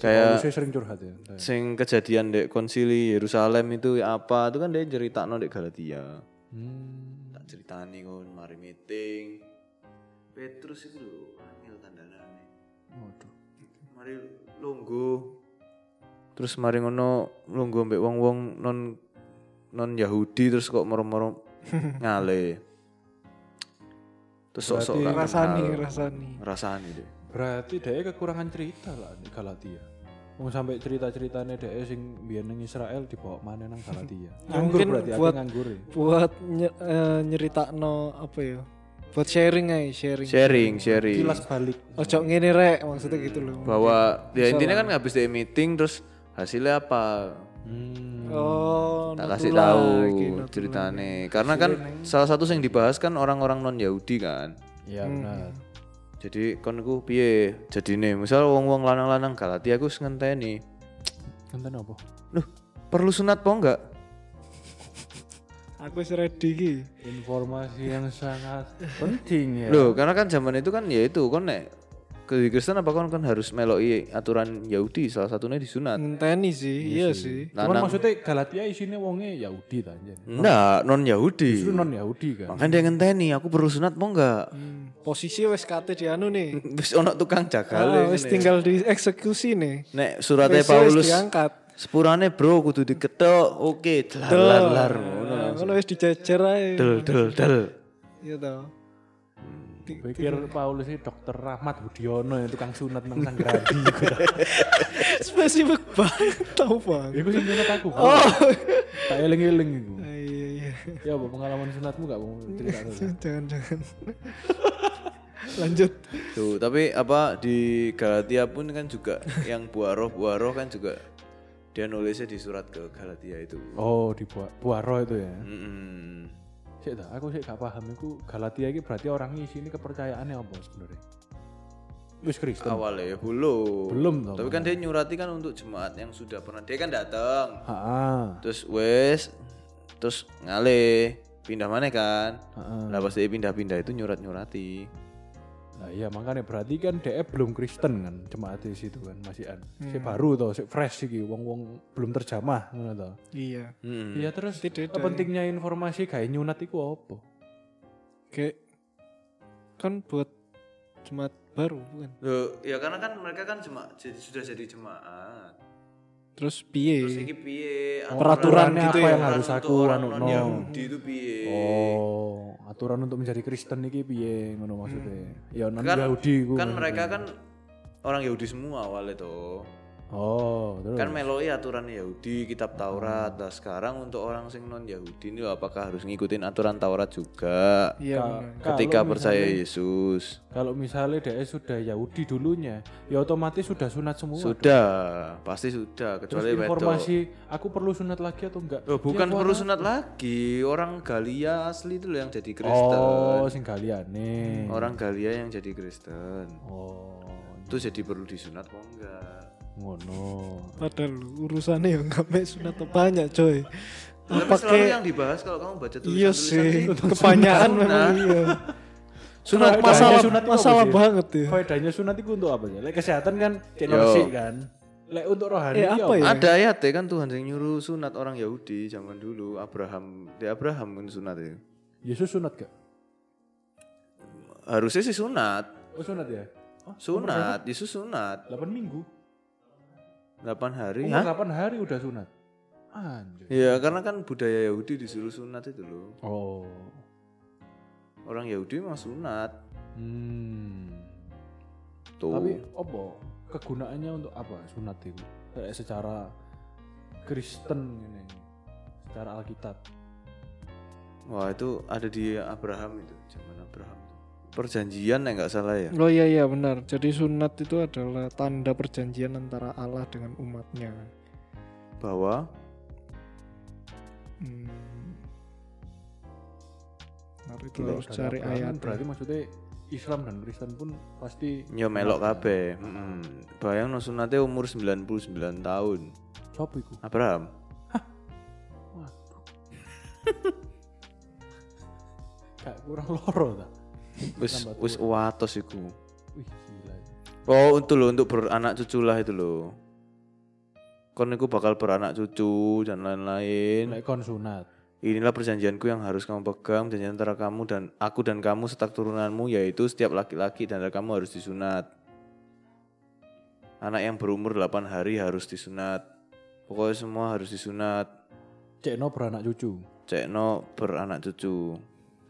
S2: kayak
S1: Paulusnya sering curhat ya
S2: sing kejadian di konsili Yerusalem itu apa itu kan dia cerita no di Galatia
S1: hmm.
S2: tak cerita nih kan mari meeting Petrus itu lho angel tandane
S1: waduh
S2: mari longgo terus mari ngono longgo mbek wong-wong non non Yahudi terus kok moro-moro ngale terus sok-sok
S1: Berarti
S2: gak
S4: Rasani,
S2: kenal.
S4: rasani.
S2: rasani deh
S1: Berarti dia kekurangan cerita lah di Galatia. Wong sampai cerita-ceritanya dia sing biyen nang Israel dibawa mana nang Galatia.
S4: mungkin
S1: berarti
S4: buat-
S1: aku nganggur. ya.
S4: Buat nye- eh, nyeritakno apa ya? Buat sharing aja, sharing.
S2: sharing sharing
S1: Kilas balik.
S4: Ojo ngene rek maksudnya gitu loh.
S2: bahwa ya intinya kan habis dari meeting terus hasilnya apa
S1: Hmm.
S4: Oh,
S2: tak
S4: nutula,
S2: kasih tahu
S4: iki nutula.
S1: Hmm.
S2: ceritane karena kan salah satu yang dibahas kan orang-orang non Yahudi kan
S1: Iya benar.
S2: jadi kon ku piye jadine misal wong-wong lanang-lanang Galatia aku ngenteni
S1: Enten apa?
S2: Loh, perlu sunat apa enggak?
S4: aku wis ready iki
S1: Informasi yang sangat
S4: Iya.
S1: penting ya.
S2: Loh, karena kan zaman itu kan ya itu kon nek ke Kristen apa kon kan harus meloi aturan Yahudi salah satunya disunat.
S4: ngenteni sih iya sih
S1: Cuman
S2: Lanang-
S1: maksudnya Galatia isinya wonge Yahudi ta anjen.
S2: Enggak, non Yahudi.
S1: Itu non Yahudi kan.
S2: Makanya dia ngenteni aku perlu sunat apa enggak?
S4: posisi wes kate dianu nih
S2: Wis ono tukang
S4: Ah,
S2: jagale.
S4: wis tinggal dieksekusi nih
S2: Nek suratnya
S4: Wis- wis
S2: Paulus
S4: diangkat
S2: sepurane bro kudu diketok. Oke, delar lar ngono
S4: Nah,
S2: langsung.
S4: ngono wis dijejer ae
S2: Del del del.
S4: iya toh
S1: Pikir Paulus ini dokter Rahmat Budiono yang tukang sunat nang Sanggrabi.
S4: spesifik banget tau bang
S1: Iku sing sunat aku. Oh. Tak eling-eling iku.
S4: Ah, iya iya
S1: Ya apa pengalaman sunatmu gak mau cerita dulu?
S4: jangan jangan lanjut
S2: Tuh, tapi apa di Galatia pun kan juga yang buaroh buaroh kan juga dia nulisnya di surat ke Galatia itu.
S1: Oh, di Bua- Buaro itu ya.
S2: Mm-mm.
S1: Sik ta, aku sik gak paham iku Galatia iki berarti orang ngisi ini kepercayaannya apa sebenarnya? Wis Kristen.
S2: Awalnya ya belum.
S1: Belum dong.
S2: Tapi kan dia nyurati kan untuk jemaat yang sudah pernah dia kan datang.
S1: Heeh.
S2: Terus wes terus ngale pindah mana kan?
S1: Heeh.
S2: Lah pas dia pindah-pindah itu nyurat-nyurati.
S1: Nah, iya makanya berarti kan DE belum Kristen kan jemaat di situ kan masih an. Si baru toh, si fresh iki wong-wong belum terjamah ngono toh.
S4: iya
S2: Mm-mm.
S1: Iya terus
S4: Tidak ada.
S1: pentingnya informasi kayak nyunat iku apa?
S4: kayak kan buat jemaat baru bukan
S2: Loh, ya karena kan mereka kan jema- jadi, sudah jadi jemaat.
S4: terus
S2: Terus
S4: piye
S2: iki piye?
S4: Peraturan
S1: Aturannya
S4: gitu
S1: Iya. apa
S4: ya?
S1: yang harus aku
S2: ranukno.
S1: ranukno?
S2: Yahudi itu piye?
S1: Oh, aturan untuk menjadi Kristen iki piye ngono maksudnya. Ya non Yahudi iku.
S2: Hmm. kan
S1: ngono.
S2: mereka kan orang Yahudi semua awalnya tuh
S1: Oh, terus.
S2: kan meloi aturan Yahudi kitab Taurat nah sekarang untuk orang sing non Yahudi ini apakah harus ngikutin aturan Taurat juga
S4: iya bener.
S1: Kalau
S2: ketika
S1: misalnya-
S2: percaya Yesus
S1: Kalau misalnya DE sudah Yahudi dulunya, ya otomatis sudah sunat semua.
S2: sudah pasti sudah
S1: Terus
S2: kecuali wedok
S1: informasi aku perlu sunat lagi atau enggak?
S2: Oh, bukan
S1: Ya,
S2: perlu
S1: warna-
S2: sunat lagi orang Galia asli itu loh yang
S1: Oh,
S2: jadi
S1: iya.
S2: Kristen
S1: sing nih.
S2: orang Galia yang jadi Kristen
S1: Oh,
S2: itu jadi perlu disunat kok enggak
S1: ngono.
S4: padahal urusannya yang nggak mek sunat apa banyak coy
S2: tapi selalu yang dibahas kalau kamu baca
S4: iya
S2: tulisan-tulisan
S4: sih
S2: itu.
S4: kebanyakan memang iya sunat
S1: Faedahnya
S4: masalah
S1: sunat itu apa
S4: masalah
S1: sih?
S4: banget ya
S1: Faedahnya sunat itu untuk apa ya? Lek kesehatan kan cek
S2: Yo.
S1: bersih kan. Lek untuk rohani
S4: Eh,
S1: iki
S4: apa ya?
S2: Ada ya teh kan Tuhan yang nyuruh sunat orang Yahudi zaman dulu Abraham di Abraham kan sunat ya.
S1: Yesus sunat gak?
S2: Harusnya sih sunat.
S1: Oh, sunat ya. Oh,
S2: Sunat, Yesus sunat
S1: 8 minggu.
S2: 8 hari.
S1: Umur
S2: Hah?
S1: 8 hari udah sunat.
S4: Iya.
S1: Anjir.
S2: Ya karena kan budaya Yahudi disuruh sunat itu loh.
S1: Oh.
S2: Orang Yahudi memang sunat.
S1: Hmm.
S2: Tuh.
S1: Tapi apa kegunaannya untuk apa sunat itu? Kayak secara Kristen ini. Secara Alkitab.
S2: Wah itu ada di Abraham itu zaman Abraham. Perjanjian ya nggak salah ya.
S4: Oh iya iya benar. Jadi sunat itu adalah tanda perjanjian antara Allah dengan umatnya.
S2: Bahwa
S4: Hmm. Nah, itu
S1: Lek
S4: harus
S1: dari
S4: cari
S1: Al-Quran kan
S4: ayat.
S1: Berarti maksudnya Islam dan Kristen pun pasti
S2: nyo melok kabeh. Mm Bayang no sunatnya umur 99 tahun.
S1: Sopo iku?
S2: Abraham.
S1: Waduh. Kayak kurang loro ta.
S2: Wis wis watos iku.
S1: Wih gila.
S2: Oh untuk lo untuk beranak cucu lah itu lo. Kon niku bakal beranak cucu dan lain-lain.
S1: Lek kon sunat.
S2: Inilah perjanjianku yang harus kamu pegang perjanjian antara kamu dan aku dan kamu serta turunanmu yaitu setiap laki-laki dan antara kamu harus disunat. Anak yang berumur 8 hari harus disunat. Pokoknya semua harus disunat.
S1: Cekno beranak cucu.
S2: Cekno beranak cucu.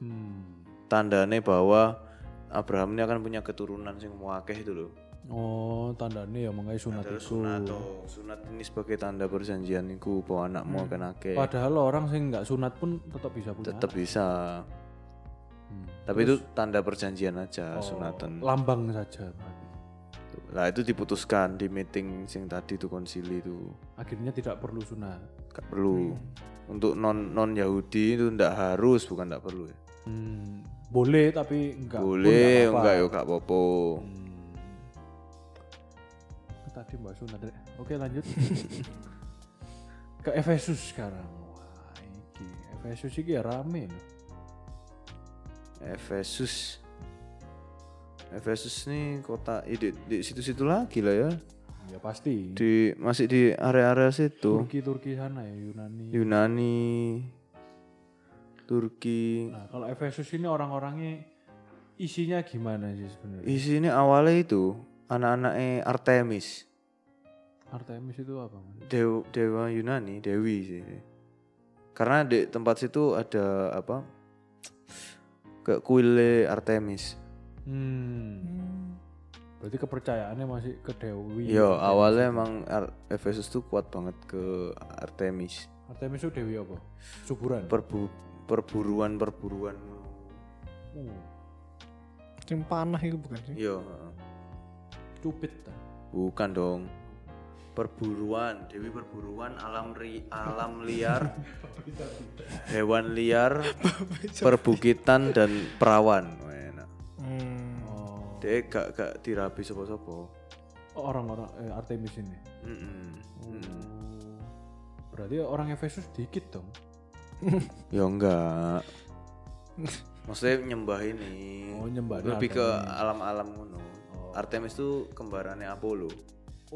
S1: Hmm.
S2: Tandane bahwa Abraham ini akan punya keturunan sing muakeh itu loh.
S1: Oh, tandanya ya mengenai sunat
S2: Terus
S1: itu.
S2: sunat oh. toh. Sunat ini sebagai tanda perjanjian iku bahwa anakmu akan akeh.
S1: Padahal orang sing nggak sunat pun tetap bisa punya.
S2: Tetap bisa.
S1: Hmm.
S2: Tapi itu tanda perjanjian
S1: Oh.
S2: aja sunatan.
S1: Lambang saja.
S2: Lah itu diputuskan di meeting sing tadi itu konsili itu.
S1: Akhirnya tidak perlu sunat.
S2: Gak perlu. Untuk non non Yahudi itu ndak harus bukan ndak perlu ya.
S1: Hmm. boleh tapi enggak pun
S2: boleh
S1: apa-apa.
S2: enggak yo gak apa-apa
S1: Hmm. Tadi Mbak Sunda Dek. Oke lanjut. Ke Efesus sekarang. Wah, iki Efesus iki ya rame loh.
S2: Efesus Efesus nih kota ya, di, di situ-situ lagi lah ya
S1: Ya pasti.
S2: di masih di area-area situ
S1: Turki Turki sana ya Yunani.
S2: Iya. Yunani Turki
S1: Nah, kalau Efesus ini orang-orangnya isinya gimana sih sebenarnya?
S2: isi ini awalnya itu anak-anaknya Artemis
S1: Artemis itu apa? Man?
S2: dewa, dewa Yunani dewi sih karena di tempat situ ada apa ke kuile Artemis
S1: Hmm. Berarti kepercayaannya masih ke dewi.
S2: yo awalnya emang Ar- Efesus tuh kuat banget ke Artemis
S1: Artemis itu dewi apa? Suburan.
S2: perbu perburuan perburuan
S1: Uh,
S4: Yang panah itu bukan sih?
S2: yo
S1: cupit. ta.
S2: bukan dong perburuan dewi perburuan alam ri, alam liar hewan liar perbukitan dan perawan Wah, enak
S4: Hmm.
S1: Oh.
S2: dia gak gak dirabi sopo-sopo
S1: Orang-orang eh, Artemis ini.
S2: Mm-mm.
S1: Oh.
S2: Mm. Mm-mm.
S1: Berarti orang Efesus dikit dong.
S2: ya enggak maksudnya nyembah ini
S1: Oh, nyembah Oh.
S2: lebih ke
S1: Artemis.
S2: alam-alam ngono Artemis tuh kembarannya Apollo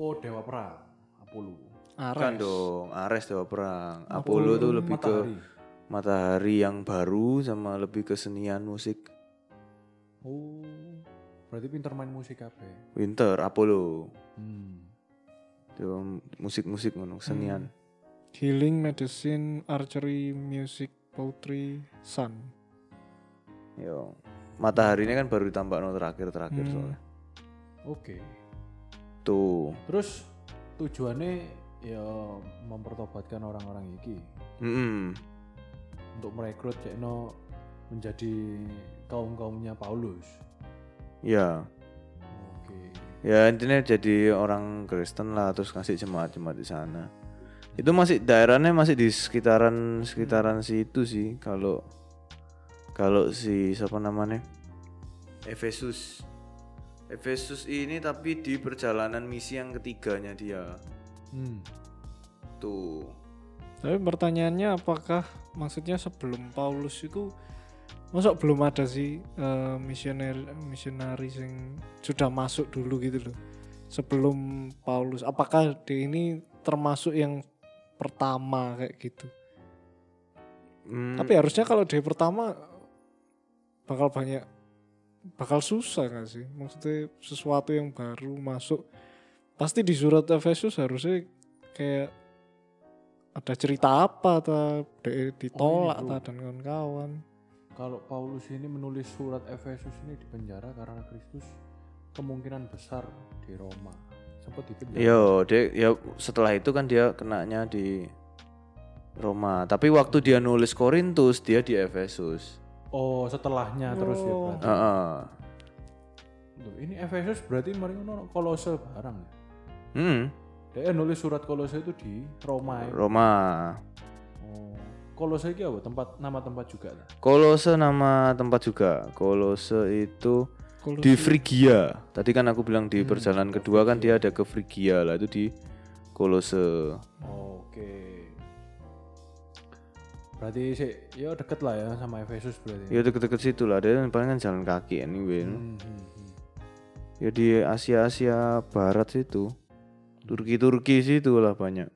S1: Oh, dewa perang Apollo.
S2: kan
S4: Ares.
S2: dong Ares dewa perang Apollo, tuh lebih ke
S1: Matahari.
S2: matahari yang baru sama lebih kesenian musik
S1: Oh. Berarti pinter main musik apa?
S2: Winter Apollo
S1: Hmm.
S2: dewa musik-musik ngono
S4: Hmm.
S2: kesenian
S4: Healing, medicine, archery, music, poetry, sun.
S2: yo matahari ini kan baru ditambah terakhir terakhir
S4: Hmm.
S2: soalnya
S1: Oke.
S2: tuh
S1: Terus tujuannya ya mempertobatkan orang-orang iki
S2: Mm-mm.
S1: untuk merekrut Cekno menjadi kaum-kaumnya Paulus.
S2: ya
S1: Oke.
S2: ya intinya jadi orang Kristen lah terus ngasih jemaat-jemaat di sana itu masih daerahnya masih di sekitaran sekitaran situ sih kalau kalau si siapa namanya Efesus Efesus ini tapi di perjalanan misi yang ketiganya dia
S1: Hmm.
S2: tuh
S4: Tapi pertanyaannya apakah maksudnya sebelum Paulus itu masuk belum ada sih eh, misioner misionari yang sudah masuk dulu gitu loh. Sebelum Paulus apakah di ini termasuk yang pertama kayak gitu.
S2: Hmm,
S4: Tapi ya- harusnya kalau di pertama bakal banyak bakal susah gak sih? Maksudnya sesuatu yang baru masuk pasti di surat Efesus harusnya kayak ada cerita apa atau de- ditolak
S1: Oh, ini,
S4: ta,
S1: Bro.
S4: dan kawan-kawan.
S1: Kalau Paulus ini menulis surat Efesus ini di penjara karena Kristus kemungkinan besar di Roma. Sempat di penjara.
S2: yo dia ya setelah itu kan dia kenanya di Roma tapi waktu dia nulis Korintus dia di Efesus
S1: Oh, setelahnya terus ya
S4: Oh.
S1: berarti.
S2: Heeh.
S1: Loh, ini Efesus berarti mari ngono kolose barang. ya?
S2: Hmm,
S1: Dia nulis surat kolose itu di Roma. ya?
S2: Roma
S1: Oh. Kolose iki apa? Tempat nama tempat juga lah.
S2: Kolose nama tempat juga. Kolose itu
S4: Kalau
S2: di Frigia. Tadi kan aku bilang
S4: Hmm.
S2: di perjalanan kedua kan dia ada ke Frigia lah itu di Kolose.
S1: Oke. Berarti sih ya deket lah ya sama Efesus berarti.
S2: Ya deket-deket situ lah. Dia kan paling kan jalan kaki anyway.
S1: Hmm, hmm, hmm.
S2: Ya di Asia Asia Barat situ. Turki Turki situ lah banyak.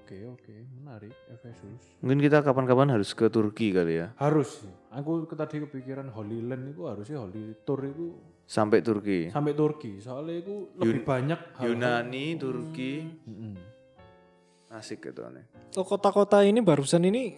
S1: Oke, oke, menarik Efesus.
S2: Mungkin kita kapan-kapan harus ke Turki kali ya.
S1: harus sih. aku ke- tadi kepikiran Holy Land itu harusnya Holy Tour itu
S2: Sampai Turki.
S1: sampai Turki soalnya itu lebih banyak hal-
S2: Yunani, Turki,
S1: Mm-mm.
S2: asik gitu aneh.
S4: Oh, kota-kota ini barusan ini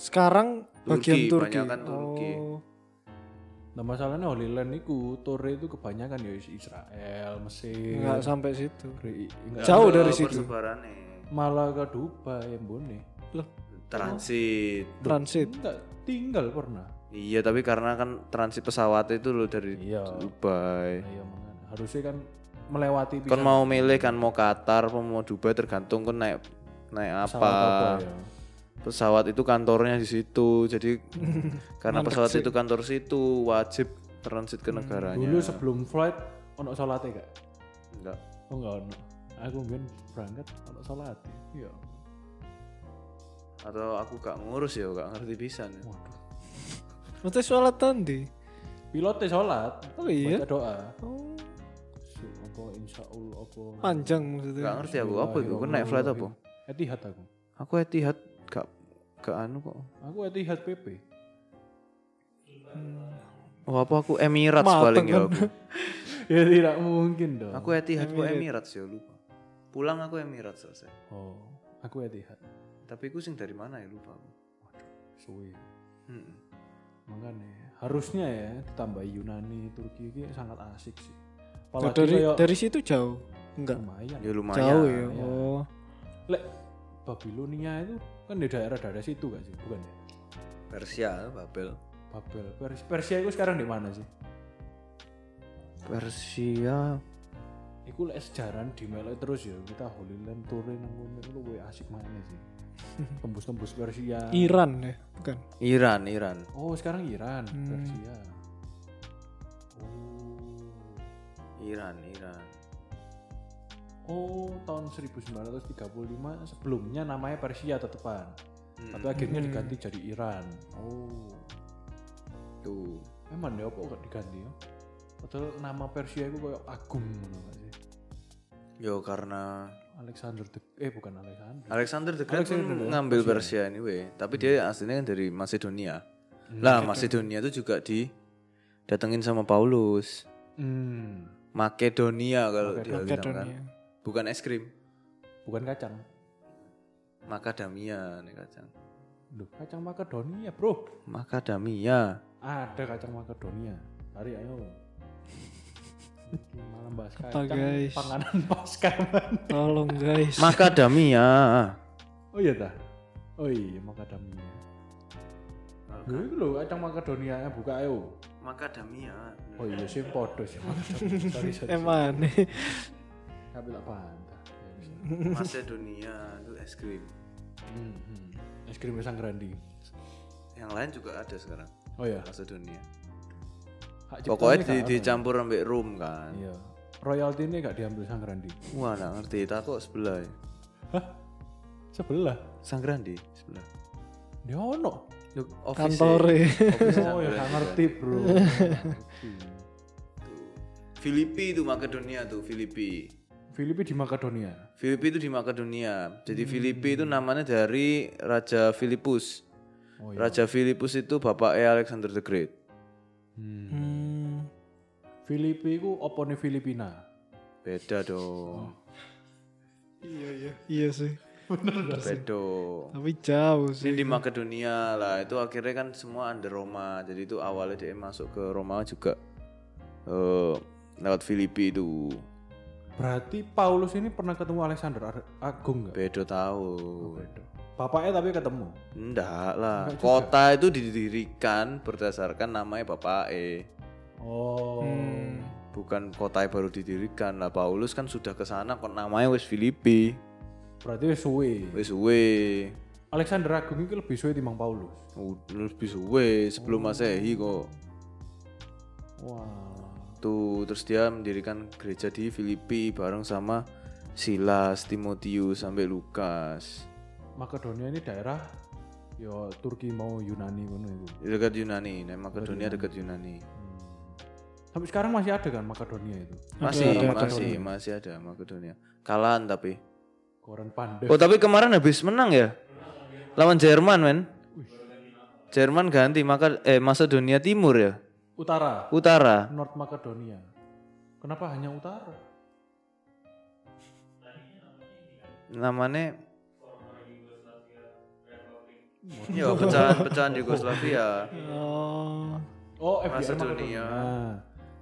S4: sekarang bagian
S2: Turki,
S4: Turki.
S2: banyakan Turki.
S4: Oh,
S1: Iya. nah masalahnya Holy Land itu Tour itu kebanyakan ya is- Israel Mesir
S4: nggak sampai situ.
S1: Gre- enggak.
S4: Jauh
S2: Ke
S4: dari situ.
S2: persebarannya.
S1: malah ke Dubai Bone
S4: Loh,
S2: Transit.
S4: transit.
S1: enggak tinggal pernah
S2: Iya tapi karena kan transit pesawat itu loh dari
S1: Iya.
S2: Dubai.
S1: Nah, iya, makanya. harusnya kan melewati
S2: Kan
S1: pisan
S2: mau milih kan mau Qatar, apa mau Dubai tergantung kan naik naik apa.
S1: pesawat apa ya.
S2: pesawat itu kantornya di situ jadi karena
S4: Mantep
S2: pesawat
S4: sih. Hmm.
S2: itu kantor situ wajib transit ke negaranya
S1: Dulu sebelum flight ono salatnya gak?
S2: enggak
S1: Oh enggak ono. Aku mungkin berangkat ono salat. Iya.
S2: atau aku gak ngurus ya gak ngerti pisan ya.
S1: Waduh.
S4: Maksudnya sholat tadi.
S1: Pilotnya salat.
S4: Oh iya.
S1: Baca doa.
S4: Oh,
S1: Su apa insya Allah apa.
S4: panjang
S2: gak
S4: maksudnya.
S2: ngerti aku Ya, apa
S4: iya,
S2: itu aku naik flight apa
S1: Etihad aku.
S2: aku etihad gak gak anu kok
S1: Aku Etihad PP.
S2: oh apa aku Emirates
S4: Mateng
S2: paling ya
S4: kan.
S2: aku
S1: ya tidak mungkin dong.
S2: aku etihad kok Emirates ya lupa pulang aku Emirates selesai
S1: Oh, aku Etihad.
S2: tapi aku sing dari mana ya lupa aku Hmm.
S1: Suwe.
S2: Mm-mm.
S1: Makanya harusnya ya ditambah Yunani, Turki ini sangat asik sih. Apalagi
S4: Nah, dari
S1: kayak-
S4: dari situ jauh. Enggak.
S1: lumayan.
S2: ya lumayan
S4: Jauh ya.
S1: ya.
S4: Oh.
S1: Lek Babilonia itu kan di daerah-daerah situ gak sih? Bukan ya?
S2: Persia Babel
S1: Babel. Pers- Persia itu sekarang di mana sih?
S2: Persia
S1: Iku lek sejarah di melek terus ya kita Holy Land touring nang kono itu luwe asik mana sih? Tembus-tembus Persia.
S4: Iran ya, bukan.
S2: Iya, Iran Iran
S1: oh, sekarang Iran,
S4: Hmm.
S1: Persia.
S2: Iran Iran
S1: Oh, tahun 1935 sebelumnya namanya Persia tetepan. Tapi
S4: Hmm.
S1: akhirnya diganti jadi Iran. Oh.
S2: tuh
S1: Emang ya apa kok diganti ya? Padahal nama Persia itu kayak Agung ngono gak sih?
S2: yo karena
S1: Alexander the eh bukan Alexander.
S2: Alexander the Great
S1: Alexander
S2: kan
S1: the Great,
S2: ngambil Persia anyway tapi dia aslinya kan dari Macedonia lah Macedonia itu juga di datengin sama Paulus
S1: Hmm.
S2: Makedonia kalau dia bilang kan
S4: Makedonia.
S2: bukan es krim
S1: Bukan kacang.
S2: Macadamia nih kacang
S1: Loh, kacang Makedonia, Bro.
S2: Macadamia
S1: Ada kacang Makedonia. Hari ayo. Ini Malam bahas
S4: Apa,
S1: kacang,
S4: guys?
S1: panganan pasca. Man.
S4: Tolong guys.
S2: Macadamia
S1: Oh iya dah. Oh iya, Makedonia. Lho itu lho kacang Makedonia ayo buka ayo.
S2: Macadamia
S1: Oh iya sih podo sih Makedonia. Sorry, sorry.
S4: Emang nih.
S1: Kabel apa antah. Ya, bisa.
S2: Macedonia itu es krim
S1: Hmm, hmm. Es krim pisang grandi.
S2: yang lain juga ada sekarang
S1: Oh iya.
S2: Macedonia
S1: Hak ciptanya
S2: pokoknya di,
S1: gak ada.
S2: dicampur sampai rum kan
S1: Iya. Royalty ini gak diambil sang grandi.
S2: wah nggak ngerti tak kok sebelah ya.
S1: Hah? Sebelah.
S2: Sang Grandi sebelah
S1: Dia ono.
S2: Yuk, office
S4: Kantore.
S1: Oh ya gak ngerti bro.
S2: Filipi itu Makedonia tuh Filipi
S1: Filipi di Makedonia.
S2: Filipi itu di Makedonia jadi Filipi itu namanya dari Raja Filipus
S1: Oh iya.
S2: Raja Filipus itu bapaknya Alexander the Great
S1: Hmm.
S4: Hmm.
S1: Filipi ku opone Filipina.
S2: beda dong
S4: Iya iya. Iya sih.
S2: beda
S4: Tapi jauh sih.
S2: ini di Makedonia lah itu akhirnya kan semua under Roma jadi itu awalnya dia masuk ke Roma juga eh lewat Filipi itu
S1: Berarti Paulus ini pernah ketemu Alexander Ar- Agung gak?
S2: beda tahun
S1: Bapaknya tapi ketemu.
S2: Enggak lah. Kota itu didirikan berdasarkan namanya Bapak E.
S1: Oh.
S2: Bukan kota yang baru didirikan lah. Paulus kan sudah ke sana kok namanya wis Filipi.
S1: Berarti wis suwe.
S2: Wis suwe.
S1: Alexander Agung itu lebih suwe timbang Paulus.
S2: Ud- Lebih suwe sebelum Masehi kok.
S1: Wah.
S2: Tuh terus dia mendirikan gereja di Filipi bareng sama Silas, Timotius sampai Lukas.
S1: Makedonia ini daerah yo Turki mau Yunani ngono itu.
S2: Dekat Yunani, nah Makedonia dekat Yunani.
S1: Sampai sekarang masih ada kan Makedonia itu?
S2: Masih, masih, masih ada Makedonia. Kalahan tapi.
S1: Koran Pandev.
S2: Oh tapi kemarin habis menang ya lawan Jerman men. Jerman ganti maka eh Macedonia Timur ya
S1: Utara,
S2: Utara.
S1: North Makedonia. Kenapa hanya utara?
S2: Namanya Ya pecahan-pecahan Yugoslavia.
S4: Oh.
S1: Oh, FDR
S2: Macedonia.
S1: Nah,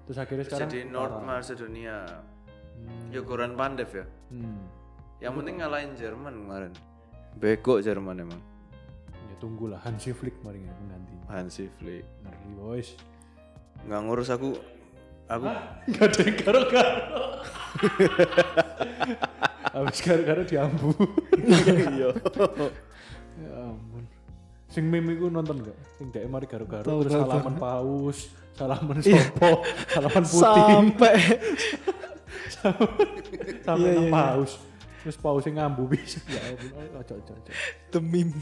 S1: Terus akhirnya sekarang
S2: Jadi North Macedonia.
S1: Hmm.
S2: Ya Goran Pandev ya.
S1: Hmm.
S2: Yang penting ngalahin Jerman kemarin. Bego Jerman emang.
S1: Ya tunggulah Hansi Flick mari ya pengganti.
S2: Hansi Flick.
S1: Ngeri boys.
S2: Nggak ngurus aku aku
S1: Gak ada yang karo-karo. Habis karo-karo diambu.
S2: Iya.
S1: Ya ampun. Sing meme iku nonton gak? Sing dhek mari garu-garu
S4: Tau,
S1: terus
S4: tau,
S1: salaman paus, salaman
S4: Iya.
S1: sopo, salaman putih,
S4: sampai
S1: sampai
S4: Iya,
S1: nang
S4: iya, iya.
S1: paus. Terus paus sing ngambu bisa. Ya ampun, oh, ojo ojo ojo.
S4: the meme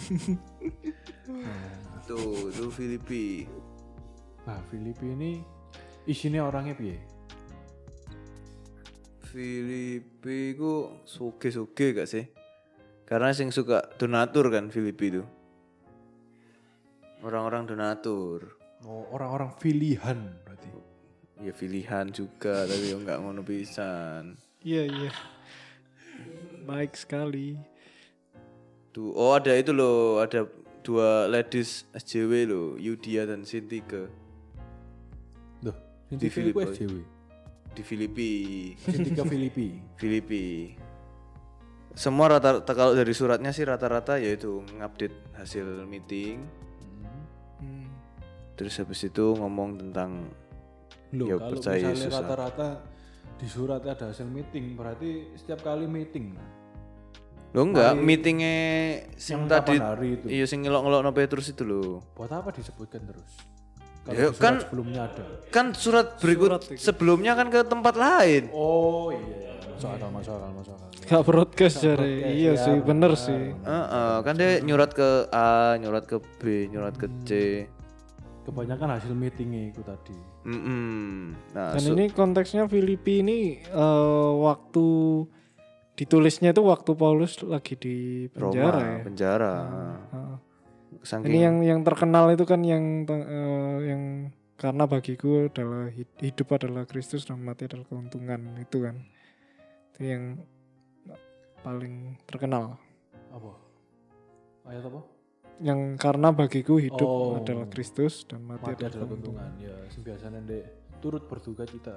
S2: Tuh, tuh Filipi.
S1: Nah, Filipi ini isinya orangnya piye?
S2: Filipi ku soge-soge gak sih? Karena sing suka donatur kan Filipi itu. Orang-orang donatur.
S1: Oh, orang-orang pilihan berarti.
S2: Ya pilihan juga tapi yo nggak ngono pisan.
S4: iya iya baik sekali
S2: Tuh, oh ada itu loh, ada dua ladies SJW loh, Yudia dan Sintika
S1: Duh, sing
S2: Di
S1: TV ku
S2: Filipi.
S1: SJW.
S2: di Filipi.
S1: Sing tiga Filipi.
S2: Filipi. Semua rata-rata kalau dari suratnya sih rata-rata yaitu ngupdate hasil meeting,
S4: Hmm.
S2: terus habis itu ngomong tentang
S1: Loh,
S2: Ya,
S1: kalau
S2: percaya
S1: misalnya
S2: Yesus lah.
S1: rata-rata di surat ada hasil meeting, berarti setiap kali meeting.
S2: Lo enggak meetingnya
S1: Yang
S2: sing tadi
S1: kapan hari itu?
S2: iya sing ngelok-ngelok no Petrus itu loh.
S1: Buat apa disebutkan terus? Kalau
S2: Ya,
S1: di surat
S2: kan-
S1: sebelumnya ada.
S2: Kan surat berikut
S4: Surat itu.
S2: sebelumnya kan ke tempat lain.
S1: Oh iya, masuk akal, masuk akal, masuk akal.
S4: gak broadcast jare iya sih bener sih
S2: Heeh, kan dia nyurat ke A, nyurat ke B, nyurat ke C.
S1: Kebanyakan hasil meetingnya itu tadi.
S2: Mm-mm. Nah,
S4: dan
S2: su-
S4: ini konteksnya Filipi ini eh, waktu ditulisnya itu waktu Paulus lagi di penjara
S2: Roma,
S4: ya
S2: Nah, penjara.
S4: Heeh.
S2: Saking
S4: Ini yang yang terkenal itu kan yang te- eh, yang karena bagiku adalah hid- hidup adalah Kristus dan mati adalah keuntungan itu kan. Itu yang paling terkenal.
S1: Apa? Ayat apa?
S4: Yang karena bagiku hidup
S1: Oh.
S4: adalah Kristus dan
S1: Mati
S4: mati, adalah
S1: adalah
S4: keuntungan.
S1: keuntungan. Ya, biasanya dek turut berduka cita.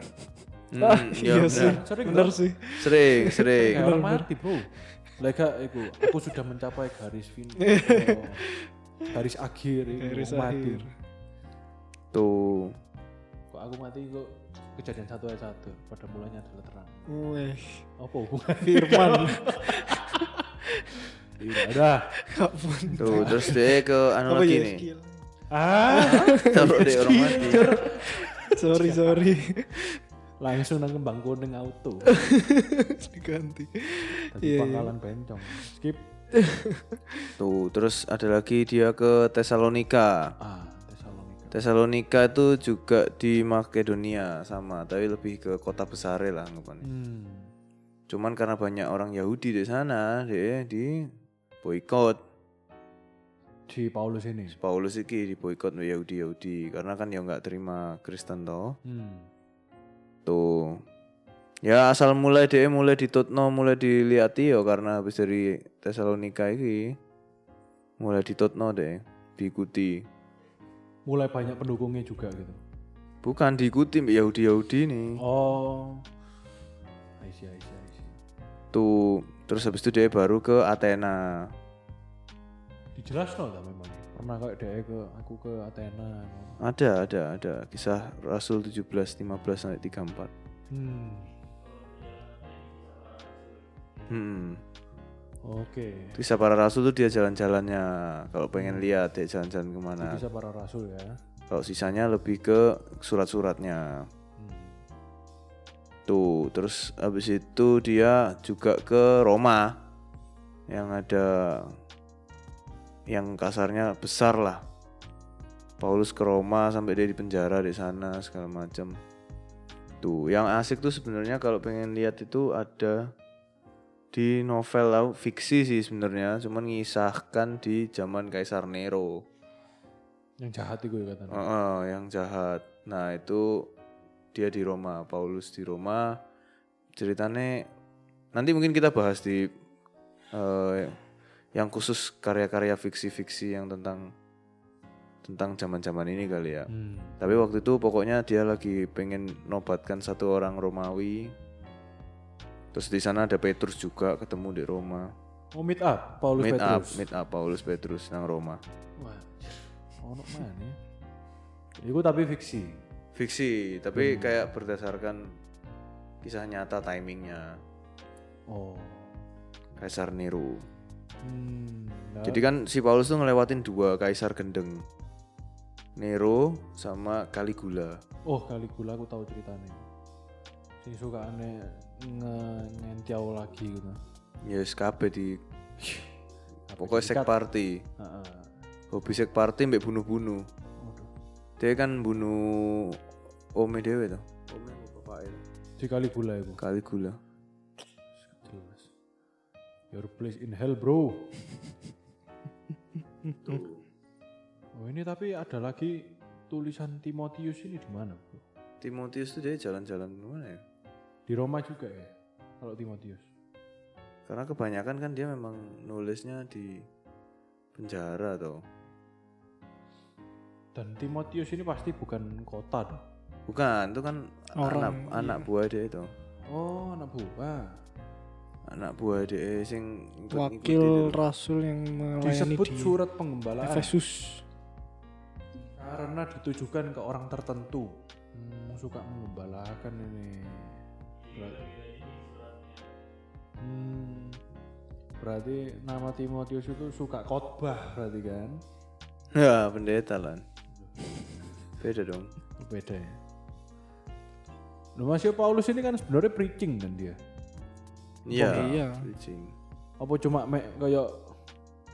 S2: Mm,
S4: Ah,
S2: iya,
S4: iya
S2: bener.
S4: sih.
S1: Sering
S4: Bener
S1: nggak?
S4: sih.
S2: Sering, sering.
S1: Kayak orang mati bro. Lega aku, aku sudah mencapai garis finish. Oh, garis akhir. iku,
S4: Garis
S1: mati.
S4: akhir.
S2: Tuh.
S1: Kok aku mati kok kejadian satu ayat satu. Pada mulanya adalah terang.
S4: Weh,
S1: Apa hubungan?
S4: Firman.
S1: Tidak Iya, ada.
S4: Kapun.
S2: Tuh, terus dia ke anu
S4: Apa
S2: lagi
S4: ya? Iya.
S2: nih.
S4: skill?
S1: Ah.
S2: Taruh deh orang mati.
S4: Sorry, sorry.
S1: langsung nang kembang kuning auto
S4: Diganti.
S1: dari
S4: Iya, iya.
S1: pangkalan bencong skip
S2: Tuh, terus ada lagi dia ke Tesalonika.
S1: ah Tesalonika
S2: Tesalonika itu juga di Makedonia sama, tapi lebih ke kota besar lah anggapannya.
S1: hmm.
S2: Cuman karena banyak orang Yahudi di sana, dia di boykot.
S1: di Paulus ini
S2: Paulus iki di boykot Yahudi Yahudi karena kan ya nggak terima Kristen toh.
S1: hmm.
S2: Tuh. gitu. Ya asal mulai dia mulai ditutno, mulai diliati ya karena habis dari Tesalonika iki mulai ditutno deh, diikuti.
S1: mulai banyak pendukungnya juga gitu
S2: Bukan diikuti Yahudi Yahudi nih.
S1: oh Aisyah Aisyah Aisyah
S2: Tuh, terus habis itu dia baru ke Athena.
S1: dijelas no lah memang pernah kayak dia ke aku ke Athena
S2: Ada, ada, ada. Kisah Rasul 17, 15 sampai 34.
S1: hmm.
S2: Hmm.
S1: oke
S2: Kisah para rasul tuh dia jalan-jalannya. Kalau pengen lihat dia jalan-jalan kemana.
S1: bisa para rasul ya
S2: Kalau sisanya lebih ke surat-suratnya.
S1: hmm.
S2: Tuh, Gitu. terus habis itu dia juga ke Roma. Yang ada yang kasarnya besar lah. Paulus ke Roma sampai dia di penjara di sana segala macam. Tuh, yang asik tuh sebenarnya kalau pengen lihat itu ada di novel lah, fiksi sih sebenarnya, cuman ngisahkan di zaman Kaisar Nero.
S1: yang jahat itu ya katanya
S2: Heeh, yang jahat. Nah, itu dia di Roma, Paulus di Roma. Ceritanya nanti mungkin kita bahas di eh, yang khusus karya-karya fiksi-fiksi yang tentang tentang zaman-zaman ini kali ya.
S1: hmm.
S2: Tapi waktu itu pokoknya dia lagi pengen nobatkan satu orang Romawi. Terus di sana ada Petrus juga ketemu di Roma.
S1: oh meet up Paulus
S2: meet up,
S1: Petrus
S2: meet up Paulus Petrus nang Roma.
S1: wah anjir. ono mana ya itu tapi fiksi
S2: fiksi tapi kayak berdasarkan kisah nyata timingnya
S1: Oh,
S2: Kaisar Nero
S1: Hmm, ya.
S2: Jadi kan si Paulus tuh ngelewatin dua kaisar gendeng. Nero sama Caligula.
S1: oh Caligula aku tahu ceritanya. Sing suka aneh nge nyentiau lagi gitu.
S2: Yes, Ya kabeh di
S1: Apa
S2: pokoknya sek
S1: diikat?
S2: party.
S1: Heeh.
S2: Hobi sek party mbek bunuh-bunuh.
S1: Waduh.
S2: Dia kan bunuh Ome Dewe tuh. Ome bapaknya.
S1: Si Caligula itu.
S2: Caligula.
S1: Jelas. Your place in hell, bro. oh ini tapi ada lagi tulisan Timotius ini di mana, bro?
S2: Timotius tuh dia jalan-jalan kemana ya?
S1: Di Roma juga ya? Kalau Timotius.
S2: Karena kebanyakan kan dia memang nulisnya di penjara tuh.
S1: Dan Timotius ini pasti bukan kota dong.
S2: Bukan, itu kan
S4: Orang, iya.
S2: anak anak buah dia itu.
S1: Oh, anak buah.
S2: Anak buah dia sing ikut-
S4: wakil
S2: ngikuti dia.
S4: rasul yang melayani
S1: Disebut
S4: di
S1: surat penggembalaan
S4: Efesus
S1: karena ditujukan ke orang tertentu. Hmm, suka menggembalakan ini. Ber- Hmm, berarti nama Timotius itu suka khotbah berarti kan?
S2: Ya, pendeta lan. Beda dong.
S1: Beda ya. Nah, Masih Paulus ini kan sebenarnya preaching kan dia.
S2: Iya.
S4: iya.
S2: preaching.
S1: Apa cuma mek kayak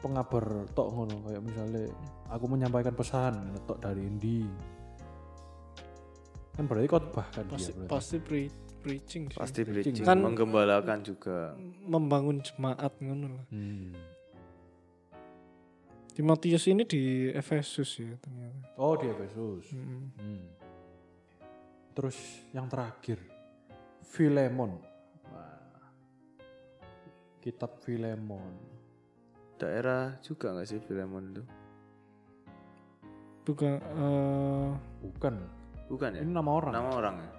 S1: pengabar tok ngono kayak misalnya aku menyampaikan pesan tok dari Indi. Kan berarti khotbah kan
S4: pasti
S1: dia berarti.
S4: pasti pre- preaching sih.
S2: Pasti preaching,
S4: Kan-
S2: menggembalakan juga.
S4: membangun jemaat ngono lah
S1: Hmm.
S4: Timotius ini di Efesus ya ternyata
S1: Oh, di Efesus.
S4: Mm-mm.
S1: Hmm. Terus yang terakhir Filemon. Wah. Kitab Filemon.
S2: Daerah juga nggak sih Filemon itu?
S4: bukan eh,
S1: Bukan.
S2: Bukan ya?
S1: Ini nama orang.
S2: Nama orang ya?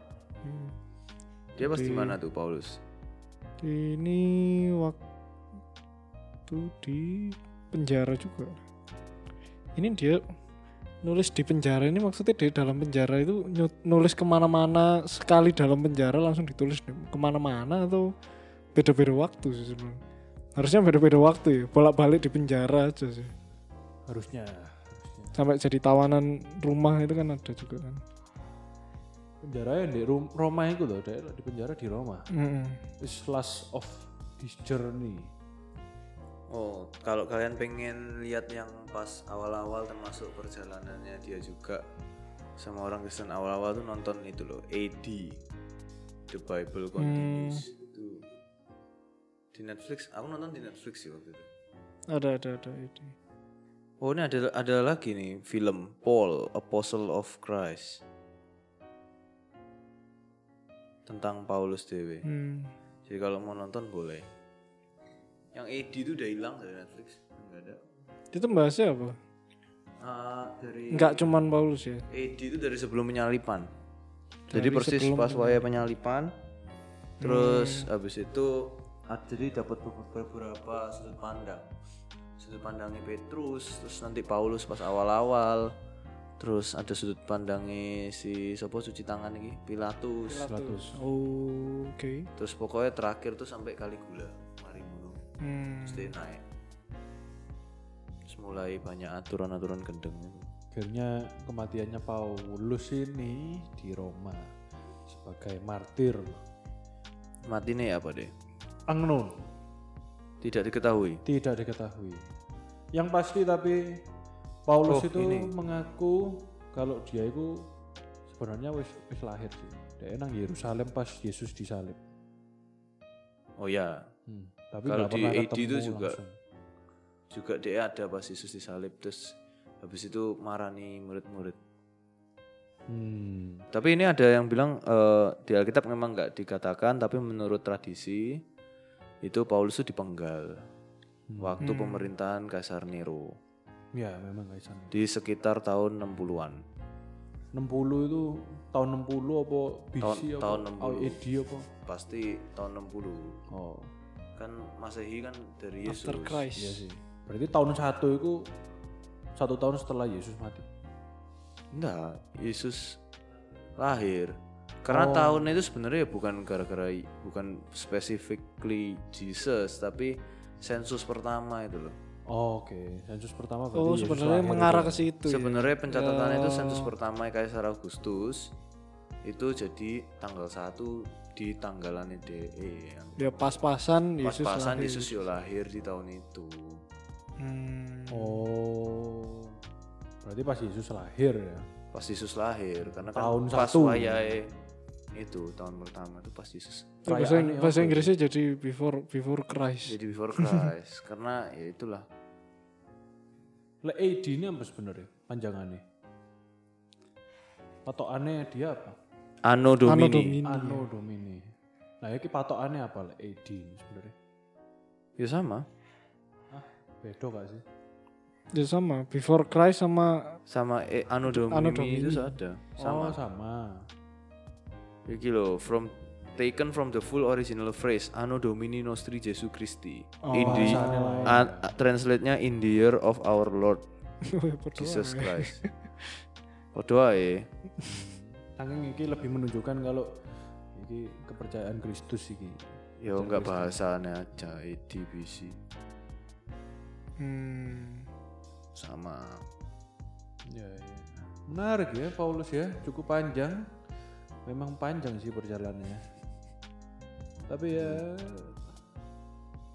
S4: hmm.
S2: Dia pas di
S4: Di-
S2: mana tuh Paulus?
S4: ini waktu di penjara juga ini dia nulis di penjara ini maksudnya dia dalam penjara itu nyu- nulis kemana-mana sekali dalam penjara langsung ditulis di- kemana-mana atau beda-beda waktu sih sebenarnya harusnya beda-beda waktu ya bolak-balik di penjara aja sih
S1: Harusnya. harusnya.
S4: sampai jadi tawanan rumah itu kan ada juga kan
S1: penjara yang di Rom- Roma itu loh daerah di penjara di Roma
S4: Mm-mm.
S1: It's last of his journey
S2: Oh, kalau kalian pengen lihat yang pas awal-awal termasuk perjalanannya dia juga sama orang Kristen awal-awal tuh nonton itu loh, AD The Bible Continues. Itu di Netflix, aku nonton di Netflix sih waktu itu.
S4: ada ada ada itu
S2: Oh, ini ada ada lagi nih film Paul Apostle of Christ. Tentang Paulus Dewi.
S4: hmm.
S2: Jadi kalau mau nonton boleh. Yang AD itu udah hilang dari Netflix. Enggak ada.
S4: itu bahasnya apa
S2: Ah, dari
S4: nggak cuman Paulus ya
S2: AD itu dari sebelum penyalipan. Jadi
S4: Dari
S2: persis
S4: sebelum Hmm.
S2: pas waya penyalipan. Terus habis itu ah, jadi dapat be- beberapa sudut pandang. Sudut pandangnya Petrus, terus nanti Paulus pas awal-awal. Terus ada sudut pandangnya si sopo cuci tangan ini, Pilatus.
S4: oh, oke
S2: Terus pokoknya terakhir tuh sampai Caligula. Mari bunuh.
S4: Hmm.
S2: Terus dia naik. Terus mulai banyak aturan-aturan gendeng itu.
S1: akhirnya kematiannya Paulus ini di Roma sebagai martir
S2: Matinya ya apa deh?
S1: unknown
S2: Tidak diketahui.
S1: tidak diketahui yang pasti tapi Paulus
S2: Oh,
S1: itu
S2: ini.
S1: mengaku kalau dia itu sebenarnya wis wis lahir sih dia nang Yerusalem pas Yesus disalib
S2: Oh ya,
S1: Hmm, tapi nggak
S2: Kalau di
S1: pernah
S2: AD
S1: ketemu
S2: itu juga-
S1: langsung.
S2: juga dia ada pas Yesus disalib terus habis itu marani murid-murid.
S1: Hmm.
S2: Tapi ini ada yang bilang eh, di Alkitab memang nggak dikatakan tapi menurut tradisi itu Paulus itu dipenggal waktu
S4: Hmm.
S2: pemerintahan Kaisar Nero
S1: ya memang Kaisar
S2: di sekitar tahun 60-an.
S1: 60 itu tahun 60 apa BC
S2: Tahun-
S1: apa
S2: tahun 60.
S1: AD apa
S2: Pasti tahun 60.
S1: oh
S2: Kan Masehi kan dari Yesus.
S4: After Christ
S1: iya sih berarti tahun satu itu satu tahun setelah Yesus mati
S2: Enggak, Yesus lahir. Karena
S4: Oh.
S2: ya tahunnya itu sebenarnya bukan gara-gara bukan specifically Jesus, tapi sensus pertama itu loh.
S1: Oh, Oke, sensus pertama berarti
S4: Oh,
S1: Yesus gitu
S4: sebenarnya
S1: lahir
S4: mengarah
S1: itu.
S4: ke situ. ya? Oh.
S2: Sebenarnya pencatatan itu sensus pertama Kaisar Agustus itu jadi tanggal 1 di tanggalan DE yang
S4: Ya pas-pasan Yesus
S2: pas-pasan
S4: lahir.
S2: Yesus yo lahir di tahun itu.
S4: Hmm.
S1: Oh. Berarti pas Yesus lahir ya.
S2: Pas Yesus lahir karena kan
S1: Tahun
S2: pas
S1: satu.
S2: wayahe itu tahun pertama itu pas Yesus
S4: Itu bahasa,
S1: Perayaannya
S4: bahasa
S1: apa?
S4: Inggrisnya jadi before before Christ.
S2: jadi before Christ karena ya itulah
S1: Lek AD ini apa sebenarnya panjangannya? Patokannya dia apa?
S2: Anno Domini.
S4: Anno Domini.
S1: Anno Domini. Nah, iki patokannya apa lek AD ini sebenarnya?
S2: Ya sama.
S1: Ah, bedo gak sih?
S4: Ya sama, before Christ sama
S2: Sama eh, Anno Domini,
S4: Anno Domini.
S2: itu ada.
S1: Sama oh,
S2: Sama.
S1: sama.
S4: Oh.
S2: Iki loh, from taken from the full original phrase Anno Domini Nostri Jesu Christi.
S4: Oh,
S2: in the
S1: bahasannya lain.
S2: a- a- translate-nya in the year of our Lord
S4: Padahal
S2: Jesus
S4: ya.
S2: Christ. Padha ae.
S1: Saking iki lebih menunjukkan kalau iki kepercayaan Kristus iki.
S2: Ya enggak bahasane aja EDBC
S4: Hmm.
S2: sama.
S1: Ya, ya. Menarik ya Paulus ya, cukup panjang. Memang panjang sih perjalanannya. Tapi ya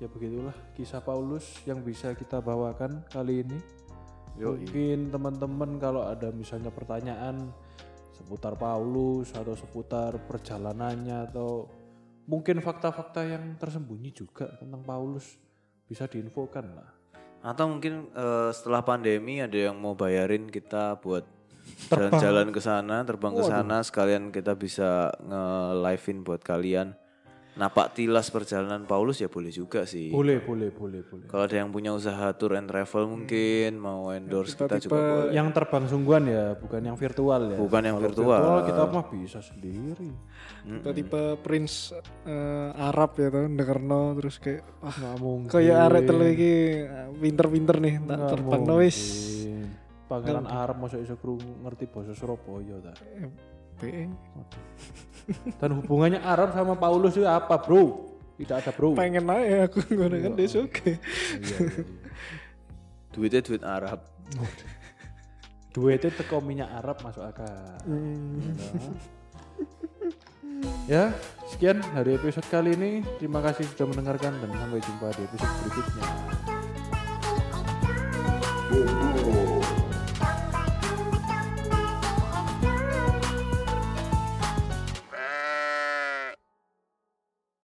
S1: ya begitulah kisah Paulus yang bisa kita bawakan kali ini. Mungkin teman-teman kalau ada misalnya pertanyaan seputar Paulus atau seputar perjalanannya atau mungkin fakta-fakta yang tersembunyi juga tentang Paulus bisa diinfokan lah.
S2: Atau mungkin eh, setelah pandemi ada yang mau bayarin kita buat jalan-jalan ke sana, terbang ke sana sekalian kita bisa nge-live-in buat kalian. Napak tilas perjalanan Paulus ya boleh juga sih.
S1: Boleh, boleh, boleh, boleh.
S2: Kalau ada yang punya usaha tour and travel mungkin mau endorse kita juga boleh.
S1: Yang terbang sungguhan ya, bukan yang virtual ya.
S2: Bukan yang
S1: Kalau
S2: virtual.
S1: kita mah bisa sendiri.
S4: Tiba-tiba Prince eh, Arab ya tuh, dengerno terus kayak wah
S1: Nggak mungkin.
S4: kayak ya arek telu iki eh, pinter-pinter nih tak
S1: Nggak
S4: terbang no
S1: mungkin.
S4: wis.
S1: Pangeran Arab masa iso krungu ngerti bahasa Surabaya ta.
S4: PE.
S1: Dan hubungannya Arab sama Paulus itu apa, Bro? Tidak ada, Bro.
S4: Pengen aja aku ngono kan dia
S1: Iya,
S4: oke.
S1: iya, iya.
S2: Duitnya duit Arab.
S1: Duitnya teko minyak Arab masuk akal.
S4: Hmm.
S1: Ya, sekian dari episode kali ini. Terima kasih sudah mendengarkan dan sampai jumpa di episode berikutnya.
S3: Boom, boom.